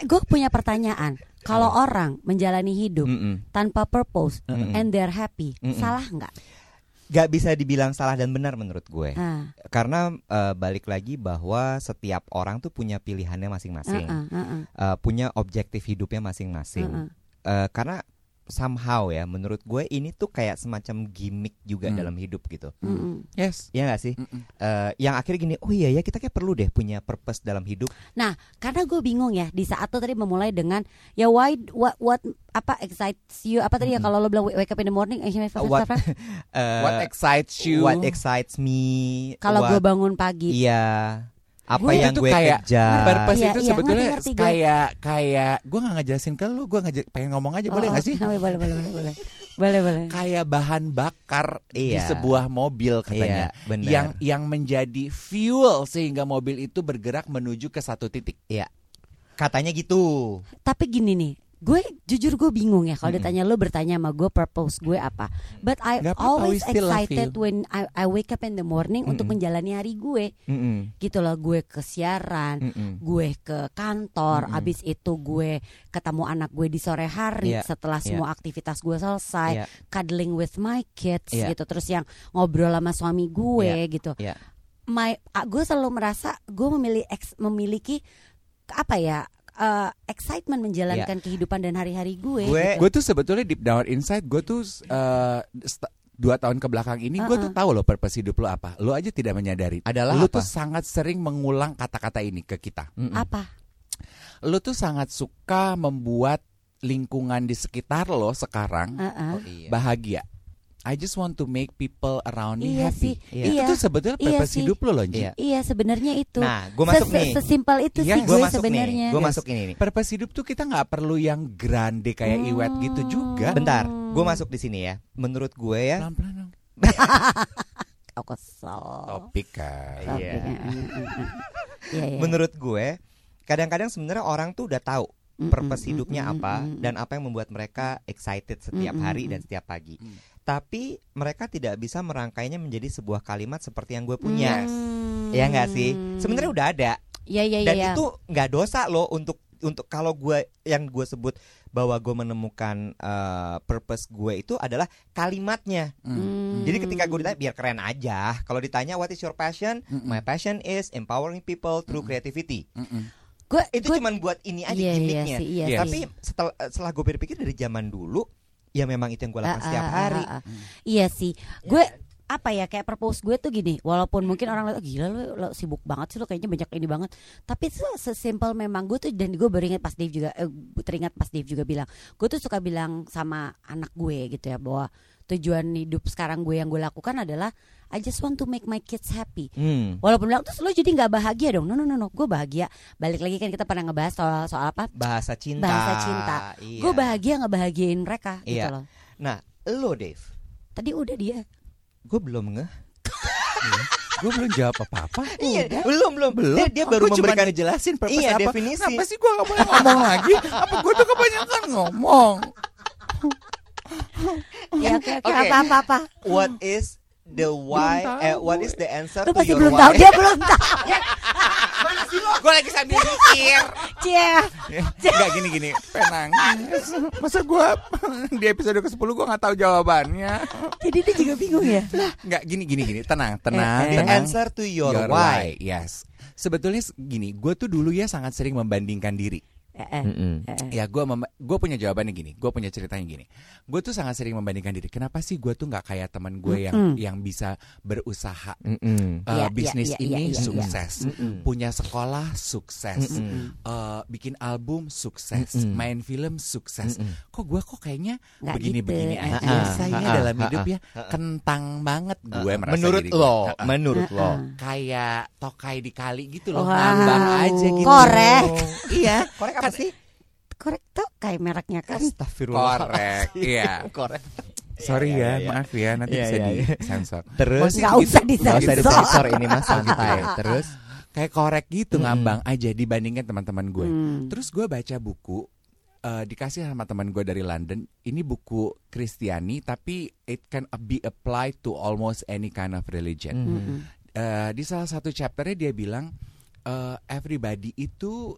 Speaker 3: gue punya pertanyaan. Kalau orang menjalani hidup
Speaker 2: Hmm.
Speaker 3: tanpa purpose and they're happy,
Speaker 1: Mm-mm.
Speaker 3: salah nggak?
Speaker 1: Gak bisa dibilang salah dan benar menurut gue.
Speaker 3: Ah,
Speaker 1: Karena eh, balik lagi bahwa setiap orang tuh punya pilihannya masing-masing,
Speaker 3: ah, ah, ah,
Speaker 1: Eh, punya objektif hidupnya masing-masing.
Speaker 3: ah, ah.
Speaker 1: Eh, karena somehow ya, menurut gue ini tuh kayak semacam gimmick juga
Speaker 2: Hmm.
Speaker 1: dalam hidup gitu.
Speaker 3: Mm-mm.
Speaker 2: Yes.
Speaker 1: Iya gak sih?
Speaker 2: Mm-mm.
Speaker 1: Eh, yang akhirnya gini, oh iya ya kita kayak perlu deh punya purpose dalam hidup.
Speaker 3: Karena gue bingung ya di saat tuh tadi memulai dengan ya why what what apa excites you apa tadi ya
Speaker 1: Mm-mm.
Speaker 3: kalau lo bilang wake up in the morning eh,
Speaker 1: Uh, what- Eh,
Speaker 2: What excites you?
Speaker 1: what excites me?
Speaker 3: kalau gue
Speaker 1: what-
Speaker 3: bangun pagi
Speaker 1: iya apa
Speaker 2: Gue
Speaker 1: yang
Speaker 2: itu
Speaker 1: gue
Speaker 2: kayak
Speaker 1: kerja?
Speaker 2: Purpose
Speaker 3: Iya,
Speaker 2: itu
Speaker 3: iya,
Speaker 2: sebetulnya
Speaker 3: ngerti, ngerti gue.
Speaker 2: Uh, kayak kayak gue nggak ngejelasin ke lu, gue ngajak pengen ngomong aja boleh
Speaker 3: Oh,
Speaker 2: nggak sih?
Speaker 3: oh, boleh boleh boleh boleh boleh boleh
Speaker 2: Kayak bahan bakar di
Speaker 1: Iya.
Speaker 2: sebuah mobil
Speaker 1: Iya,
Speaker 2: katanya.
Speaker 1: benar.
Speaker 2: Yang yang menjadi fuel sehingga mobil itu bergerak menuju ke satu titik.
Speaker 1: katanya gitu.
Speaker 3: tapi gini nih gue jujur gue bingung ya kalau ditanya lo bertanya sama gue purpose gue apa but I
Speaker 2: Nggak apa-apa,
Speaker 3: always
Speaker 2: we still love
Speaker 3: excited when I, I wake up in the morning untuk
Speaker 1: Mm-mm.
Speaker 3: menjalani hari gue
Speaker 1: Mm-mm,
Speaker 3: gitu loh gue ke siaran
Speaker 1: mm-mm.
Speaker 3: gue ke kantor,
Speaker 1: Mm-mm.
Speaker 3: abis itu gue ketemu anak gue di sore hari
Speaker 1: Iya,
Speaker 3: setelah
Speaker 1: iya.
Speaker 3: semua aktivitas gue selesai,
Speaker 1: Iya.
Speaker 3: cuddling with my kids
Speaker 1: Iya.
Speaker 3: gitu, terus yang ngobrol sama suami gue gitu.
Speaker 1: Iya.
Speaker 3: My, ah, gue selalu merasa gue memilih ex- memiliki apa ya eh, excitement menjalankan kehidupan dan hari-hari gue.
Speaker 1: Gue-
Speaker 3: gitu.
Speaker 2: gue tuh sebetulnya deep down inside gue tuh eh, st- dua tahun ke belakang ini gue tuh tahu loh purpose hidup lo apa lo aja tidak menyadari
Speaker 1: Adalah
Speaker 2: lo
Speaker 1: apa?
Speaker 2: tuh sangat sering mengulang kata-kata ini ke kita
Speaker 1: Mm-mm.
Speaker 3: apa?
Speaker 2: lo tuh sangat suka membuat lingkungan di sekitar lo sekarang
Speaker 3: Heeh.
Speaker 1: Oh, iya.
Speaker 2: bahagia I just want to make people around me
Speaker 3: Iya sih,
Speaker 2: happy
Speaker 1: Iya.
Speaker 3: iya,
Speaker 2: itu tuh sebetulnya
Speaker 3: Iya
Speaker 2: purpose
Speaker 3: sih.
Speaker 2: hidup lo loh Ji.
Speaker 1: Iya.
Speaker 3: iya sebenarnya itu.
Speaker 1: Nah, gue masuk
Speaker 3: Sese-
Speaker 1: nih.
Speaker 3: Sesimpel itu sih
Speaker 2: Yes.
Speaker 1: Gue
Speaker 3: gue
Speaker 1: masuk
Speaker 3: sebenarnya.
Speaker 1: nih. Gue
Speaker 2: Yes.
Speaker 1: masuk ini nih.
Speaker 2: purpose hidup tuh kita nggak perlu yang grande kayak iwet gitu
Speaker 1: Hmm.
Speaker 2: juga
Speaker 3: Hmm.
Speaker 1: Bentar, gue masuk di sini ya. Menurut gue ya.
Speaker 2: pelan-pelan dong.
Speaker 3: Oh, kesel.
Speaker 2: topik kan
Speaker 1: Iya.
Speaker 3: Iya. Iya, iya.
Speaker 1: Menurut gue, kadang-kadang sebenarnya orang tuh udah tahu
Speaker 3: Mm-mm,
Speaker 1: purpose
Speaker 3: mm-mm,
Speaker 1: hidupnya
Speaker 3: mm-mm,
Speaker 1: apa
Speaker 3: mm-mm.
Speaker 1: dan apa yang membuat mereka excited setiap
Speaker 3: Mm-mm,
Speaker 1: hari
Speaker 3: mm-mm.
Speaker 1: dan setiap pagi.
Speaker 3: Hmm.
Speaker 2: Mm.
Speaker 1: Tapi mereka tidak bisa merangkainya menjadi sebuah kalimat seperti yang gue
Speaker 3: Hmm.
Speaker 1: punya.
Speaker 3: Mm.
Speaker 1: Ya nggak sih? Sebenarnya udah ada
Speaker 3: Iya iya iya.
Speaker 1: dan itu nggak dosa loh untuk untuk kalau gue yang gue sebut bahwa gue menemukan eh, purpose gue itu adalah kalimatnya.
Speaker 2: Hmm.
Speaker 3: Mm.
Speaker 1: Jadi ketika gue ditanya biar keren aja. Kalau ditanya what is your passion?
Speaker 2: Mm-mm.
Speaker 1: My passion is empowering people through creativity.
Speaker 2: Mm-mm.
Speaker 3: gue
Speaker 1: Itu
Speaker 3: gue-
Speaker 1: cuman buat ini aja
Speaker 3: Hmm. iya, iya
Speaker 1: gimmicknya.
Speaker 3: sih, iya
Speaker 2: Yes.
Speaker 1: Tapi
Speaker 3: sih.
Speaker 1: setelah setelah gue berpikir dari zaman dulu ya memang itu yang gue lakukan
Speaker 3: Ah,
Speaker 1: setiap
Speaker 3: ah, ah,
Speaker 1: hari. Hmm.
Speaker 3: ah, ah. Iya sih. Gue apa ya kayak purpose gue tuh gini, walaupun mungkin orang lihat "Ah, gila lu, lu sibuk banget sih lu kayaknya banyak ini banget. Tapi itu sesimpel memang gue tuh dan gue beringat pas Dave juga eh, teringat pas Dave juga bilang, gue tuh suka bilang sama anak gue gitu ya bahwa tujuan hidup sekarang gue yang gue lakukan adalah I just want to make my kids happy.
Speaker 1: Hmm.
Speaker 3: Walaupun bilang terus lo jadi nggak bahagia dong. No no no no, gue bahagia. Balik lagi kan kita pernah ngebahas soal soal apa?
Speaker 1: Bahasa cinta.
Speaker 3: Bahasa cinta.
Speaker 1: Iya.
Speaker 3: Gue bahagia ngebahagiain mereka gitu
Speaker 1: Iya.
Speaker 3: loh.
Speaker 1: Nah, lo Dave,
Speaker 3: Tadi udah dia.
Speaker 1: gue belum nge
Speaker 2: gue belum jawab apa-apa
Speaker 1: Iya, belum belum belum. Dia, dia
Speaker 2: Aku
Speaker 1: baru
Speaker 2: cuma
Speaker 1: memberikan
Speaker 2: ngejelasin purpose
Speaker 1: Iya,
Speaker 2: apa.
Speaker 1: definisi.
Speaker 2: Kenapa sih gue gak boleh ngomong lagi? Apa gue tuh kebanyakan ngomong?
Speaker 3: Ya oke oke
Speaker 1: Oke.
Speaker 3: apa apa apa.
Speaker 1: what is the why?
Speaker 2: Belum tahu
Speaker 1: eh, what
Speaker 2: gue.
Speaker 1: is the answer?
Speaker 3: Lu
Speaker 1: to
Speaker 3: pasti
Speaker 1: your
Speaker 3: belum
Speaker 1: why?
Speaker 3: tahu dia belum tahu.
Speaker 2: gue lagi sambil mikir.
Speaker 3: Cie.
Speaker 2: Gak gini-gini, penang. Masa gue di episode ke-10 gue gak tahu jawabannya.
Speaker 3: Jadi dia juga bingung ya.
Speaker 2: Gak gini-gini-gini, tenang, tenang,
Speaker 1: The
Speaker 2: tenang.
Speaker 1: Eh, answer to your,
Speaker 2: Your
Speaker 1: why.
Speaker 2: Yes. Sebetulnya s- gini, gue tuh dulu ya sangat sering membandingkan diri.
Speaker 3: Eh, eh,
Speaker 1: Mm-mm.
Speaker 3: eh, eh.
Speaker 2: Ya gue gue punya jawabannya gini, gue punya ceritanya gini. Gue tuh sangat sering membandingkan diri. Kenapa sih gue tuh nggak kayak teman gue yang
Speaker 3: Mm-mm.
Speaker 2: yang bisa berusaha
Speaker 1: Mm-mm.
Speaker 2: eh,
Speaker 3: Iya, iya,
Speaker 2: bisnis
Speaker 3: iya,
Speaker 2: ini
Speaker 3: iya, iya, iya.
Speaker 2: sukses,
Speaker 1: Mm-mm.
Speaker 2: punya sekolah sukses,
Speaker 1: Mm-mm.
Speaker 2: eh, bikin album sukses,
Speaker 1: Mm-mm.
Speaker 2: main film sukses.
Speaker 1: Mm-mm.
Speaker 2: Kok gue kok kayaknya
Speaker 3: Nggak
Speaker 2: begini-begini
Speaker 3: gitu.
Speaker 2: aja.
Speaker 1: Ah,
Speaker 2: Saya
Speaker 1: ah,
Speaker 2: dalam
Speaker 1: ah,
Speaker 2: hidup ya kentang banget gue
Speaker 1: Eh,
Speaker 2: merasa
Speaker 1: menurut
Speaker 2: diri gue.
Speaker 1: lo,
Speaker 2: Ah, ah.
Speaker 1: menurut lo.
Speaker 2: kayak tokai di kali gitu loh,
Speaker 3: Wow.
Speaker 2: ngambang aja gitu.
Speaker 3: Korek.
Speaker 2: Iya,
Speaker 1: Korek apa sih?
Speaker 3: Korek tuh kayak mereknya kan.
Speaker 1: Astagfirullah.
Speaker 2: korek. Iya.
Speaker 1: Korek. Iya,
Speaker 2: Sorry ya,
Speaker 1: iya, iya.
Speaker 2: maaf ya, nanti
Speaker 1: Iya,
Speaker 2: bisa
Speaker 1: iya, iya.
Speaker 2: disensor.
Speaker 1: Terus
Speaker 3: Nggak usah
Speaker 1: Gak usah
Speaker 3: disensor.
Speaker 1: disensor ini mas
Speaker 2: Oh, gitu
Speaker 1: santai.
Speaker 2: ya.
Speaker 1: Terus
Speaker 2: Kayak korek gitu
Speaker 1: Mm-mm.
Speaker 2: ngambang aja dibandingkan teman-teman gue.
Speaker 3: Hmm.
Speaker 2: Terus gue baca buku eh, dikasih sama teman gue dari London. Ini buku Kristiani tapi it can be applied to almost any kind of religion.
Speaker 3: Mm-mm.
Speaker 2: Eh, di salah satu chapternya dia bilang eh, everybody itu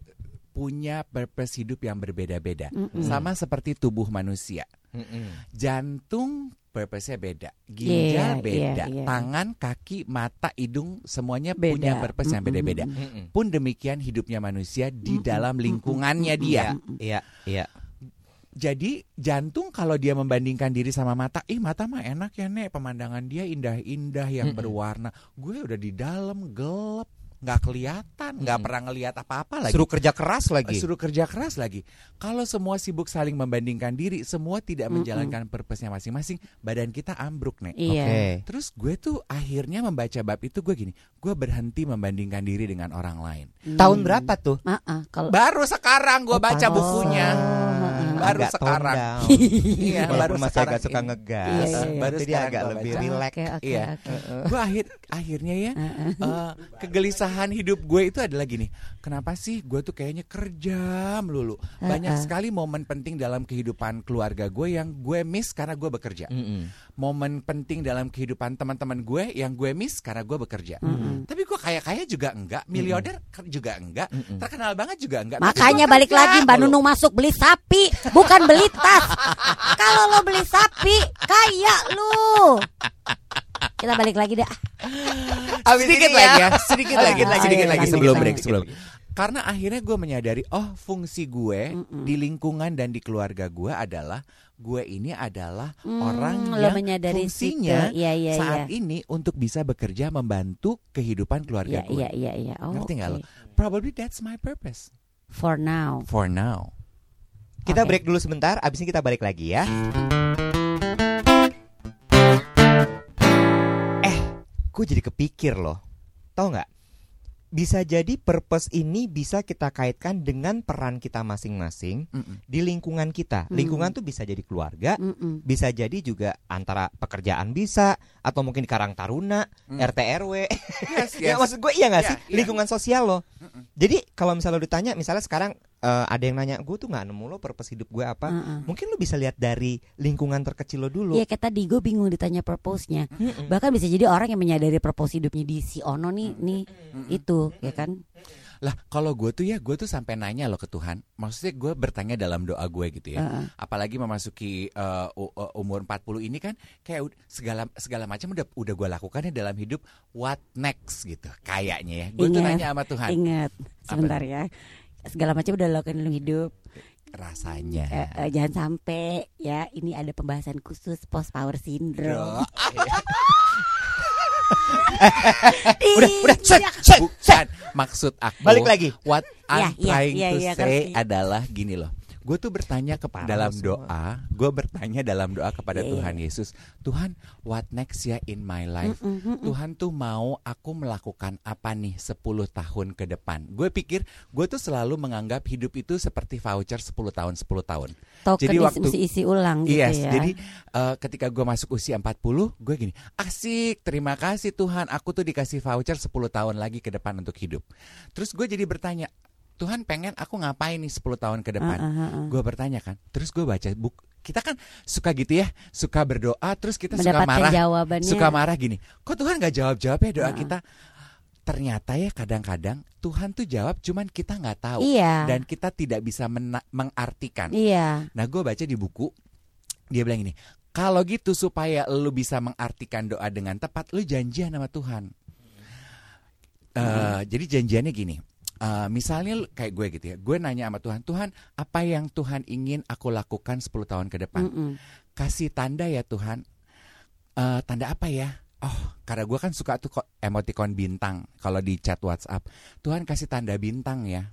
Speaker 2: punya purpose hidup yang berbeda-beda.
Speaker 3: Mm-mm.
Speaker 2: Sama seperti tubuh manusia.
Speaker 1: Mm-mm.
Speaker 2: jantung purpose-nya beda,
Speaker 3: Iya,
Speaker 2: ginjal beda,
Speaker 3: iya, iya.
Speaker 2: tangan, kaki, mata, hidung semuanya
Speaker 3: Beda. Hmm,
Speaker 2: punya purpose yang
Speaker 3: Mm-mm.
Speaker 2: beda-beda.
Speaker 1: Mm-mm.
Speaker 2: Pun demikian hidupnya manusia di
Speaker 3: Mm-mm.
Speaker 2: dalam lingkungannya dia.
Speaker 3: hmm,
Speaker 1: Iya, iya.
Speaker 2: Jadi jantung kalau dia membandingkan diri sama mata, ih mata mah enak ya nek, pemandangan dia indah-indah yang
Speaker 1: Mm-mm.
Speaker 2: berwarna. Gue udah di dalam gelap, nggak kelihatan, nggak
Speaker 1: Mm-mm.
Speaker 2: pernah ngelihat apa-apa lagi.
Speaker 1: Suruh kerja keras lagi.
Speaker 2: Suruh kerja keras lagi. Kalau semua sibuk saling membandingkan diri, semua tidak
Speaker 3: Mm-mm.
Speaker 2: menjalankan purpose-nya masing-masing, badan kita ambruk, Nek.
Speaker 3: Iya.
Speaker 1: Oke.
Speaker 2: Terus gue tuh akhirnya membaca bab itu gue gini, gue berhenti membandingkan diri dengan orang lain.
Speaker 3: Mm.
Speaker 1: Tahun berapa tuh?
Speaker 3: Ah, ah, Hmm. kalau
Speaker 2: Baru sekarang
Speaker 1: Oh,
Speaker 2: gue baca
Speaker 1: pantesan.
Speaker 2: bukunya.
Speaker 3: Oh,
Speaker 2: Baru
Speaker 1: Agak tone
Speaker 2: sekarang.
Speaker 1: down.
Speaker 2: Iya,
Speaker 1: Walaupun masih agak
Speaker 2: sekarang
Speaker 1: suka
Speaker 2: ini.
Speaker 1: ngegas.
Speaker 3: Iya, iya, iya.
Speaker 2: Baru
Speaker 1: Tapi dia
Speaker 2: sekarang
Speaker 1: agak
Speaker 2: gua
Speaker 1: lebih
Speaker 2: baca.
Speaker 1: relax.
Speaker 3: Oke, oke,
Speaker 2: Iya.
Speaker 3: oke.
Speaker 2: Gue akhir akhirnya ya eh, kegelisahan hidup gue itu adalah gini. Kenapa sih gue tuh kayaknya kerja melulu. Banyak
Speaker 3: Uh-uh.
Speaker 2: sekali momen penting dalam kehidupan keluarga gue yang gue miss karena gue bekerja.
Speaker 1: Mm-mm.
Speaker 2: Momen penting dalam kehidupan teman-teman gue yang gue miss karena gue bekerja.
Speaker 3: Mm-mm.
Speaker 2: Tapi gue kaya kaya juga enggak,
Speaker 3: Hmm.
Speaker 2: miliarder ke- juga enggak,
Speaker 1: Mm-mm.
Speaker 2: terkenal banget juga enggak.
Speaker 3: Makanya balik lagi Mbak Nunung masuk beli sapi, bukan beli tas. Kalau lo beli sapi, kaya lu. Kita balik lagi dah.
Speaker 2: sedikit lagi ya, sedikit lagi,
Speaker 3: Abis ini
Speaker 2: sedikit
Speaker 3: ya.
Speaker 2: lagi
Speaker 3: Iya,
Speaker 2: sebelum
Speaker 3: iya,
Speaker 2: break
Speaker 1: iya.
Speaker 2: sebelum. Karena akhirnya gue menyadari, oh fungsi gue
Speaker 3: Mm-mm.
Speaker 2: di lingkungan dan di keluarga gue adalah gue ini adalah
Speaker 3: Hmm,
Speaker 2: orang
Speaker 3: lo
Speaker 2: yang
Speaker 3: menyadari
Speaker 2: fungsinya
Speaker 3: situ. Iya, iya,
Speaker 2: saat ini untuk bisa bekerja membantu
Speaker 3: iya.
Speaker 2: kehidupan
Speaker 3: Iya,
Speaker 2: keluarga gue.
Speaker 3: iya, iya, iya. Oh,
Speaker 2: Ngerti nggak
Speaker 3: oke.
Speaker 2: lo? Probably that's my purpose
Speaker 3: For now.
Speaker 2: for now.
Speaker 1: Kita
Speaker 3: Oke.
Speaker 1: break dulu sebentar, abis ini kita balik lagi ya. Eh, gue jadi kepikir loh. Tahu nggak? Bisa jadi purpose ini bisa kita kaitkan dengan peran kita masing-masing
Speaker 2: Mm-mm.
Speaker 1: di lingkungan kita.
Speaker 3: Hmm.
Speaker 1: Lingkungan tuh bisa jadi keluarga,
Speaker 3: Mm-mm.
Speaker 1: bisa jadi juga antara pekerjaan bisa atau mungkin di Karang Taruna,
Speaker 2: Hmm.
Speaker 1: RT RW.
Speaker 2: Yes,
Speaker 1: Ya
Speaker 2: yes.
Speaker 1: maksud gue iya nggak
Speaker 2: Iya,
Speaker 1: sih
Speaker 2: iya.
Speaker 1: lingkungan sosial loh.
Speaker 2: Mm-mm.
Speaker 1: Jadi kalau misalnya lo ditanya, misalnya sekarang eh, ada yang nanya gue tuh nggak nemu lo purpose hidup gue apa?
Speaker 2: Mm.
Speaker 3: Uh-uh.
Speaker 1: Mungkin lo bisa lihat dari lingkungan terkecil lo dulu.
Speaker 3: Iya kayak tadi gue bingung ditanya purpose-nya
Speaker 2: Hmm.
Speaker 1: Mm-mm.
Speaker 3: Bahkan bisa jadi orang yang menyadari purpose hidupnya di si Ono nih
Speaker 2: Hmm.
Speaker 3: nih Itu ya kan
Speaker 2: Lah kalau gue tuh ya gue tuh sampai nanya loh ke Tuhan Maksudnya gue bertanya dalam doa gue gitu ya
Speaker 3: Heeh.
Speaker 2: Apalagi memasuki eh, u- u- umur 40 ini kan Kayak ud- segala segala macam udah, udah gue lakukannya dalam hidup What next gitu kayaknya ya Gue tuh
Speaker 3: Ingat.
Speaker 2: nanya sama Tuhan
Speaker 3: Ingat sebentar ya segala macam udah lakukan dalam hidup
Speaker 2: Rasanya
Speaker 3: Eh, eh, jangan sampai ya ini ada pembahasan khusus post power syndrome
Speaker 2: Bro, Eh,
Speaker 1: Udah, udah, set,
Speaker 3: iya.
Speaker 1: set, set.
Speaker 2: bukan. Maksud aku
Speaker 1: Balik lagi.
Speaker 2: What
Speaker 3: Ya,
Speaker 2: I'm
Speaker 3: ya,
Speaker 2: trying
Speaker 3: ya,
Speaker 2: to
Speaker 3: ya,
Speaker 2: say
Speaker 3: ngerti.
Speaker 2: adalah gini loh Gue tuh bertanya ke
Speaker 1: Parah
Speaker 2: dalam
Speaker 1: lo semua.
Speaker 2: doa Gue bertanya dalam doa
Speaker 3: Iya,
Speaker 2: kepada
Speaker 3: iya.
Speaker 2: Tuhan Yesus Tuhan what next ya in my life
Speaker 3: Mm, mm, mm.
Speaker 2: Tuhan tuh mau aku melakukan apa nih 10 tahun ke depan. Gue pikir gue tuh selalu menganggap hidup itu seperti voucher 10 tahun 10 tahun.
Speaker 3: token
Speaker 2: Jadi
Speaker 3: isi-
Speaker 2: waktu-
Speaker 3: mesti isi ulang gitu ya
Speaker 2: yes, jadi eh, ketika gue masuk usia 40, gue gini, asik, terima kasih Tuhan, aku tuh dikasih voucher 10 tahun lagi ke depan untuk hidup. Terus gue jadi bertanya, Tuhan pengen aku ngapain nih 10 tahun ke depan?
Speaker 3: Ah, ah, ah.
Speaker 2: Gue bertanya kan, terus gue baca buku. Kita kan suka gitu ya, suka berdoa, terus kita suka
Speaker 3: mendapatkan
Speaker 2: marah
Speaker 3: jawabannya
Speaker 2: suka marah gini kok Tuhan nggak jawab jawab ya doa
Speaker 3: Heeh.
Speaker 2: kita ternyata ya kadang-kadang Tuhan tuh jawab cuman kita nggak tahu
Speaker 3: iya
Speaker 2: dan kita tidak bisa mena- mengartikan
Speaker 3: iya
Speaker 2: nah gue baca di buku dia bilang gini kalau gitu supaya lu bisa mengartikan doa dengan tepat lu janjian sama Tuhan Eh, jadi janjiannya gini eh, misalnya lu- kayak gue gitu ya, gue nanya sama Tuhan, Tuhan apa yang Tuhan ingin aku lakukan 10 tahun ke depan?
Speaker 3: Mm-mm.
Speaker 2: Kasih tanda ya Tuhan, Eh, tanda apa ya? Oh, karena gue kan suka tuh ko- emoticon bintang kalau di chat WhatsApp. Tuhan kasih tanda bintang ya.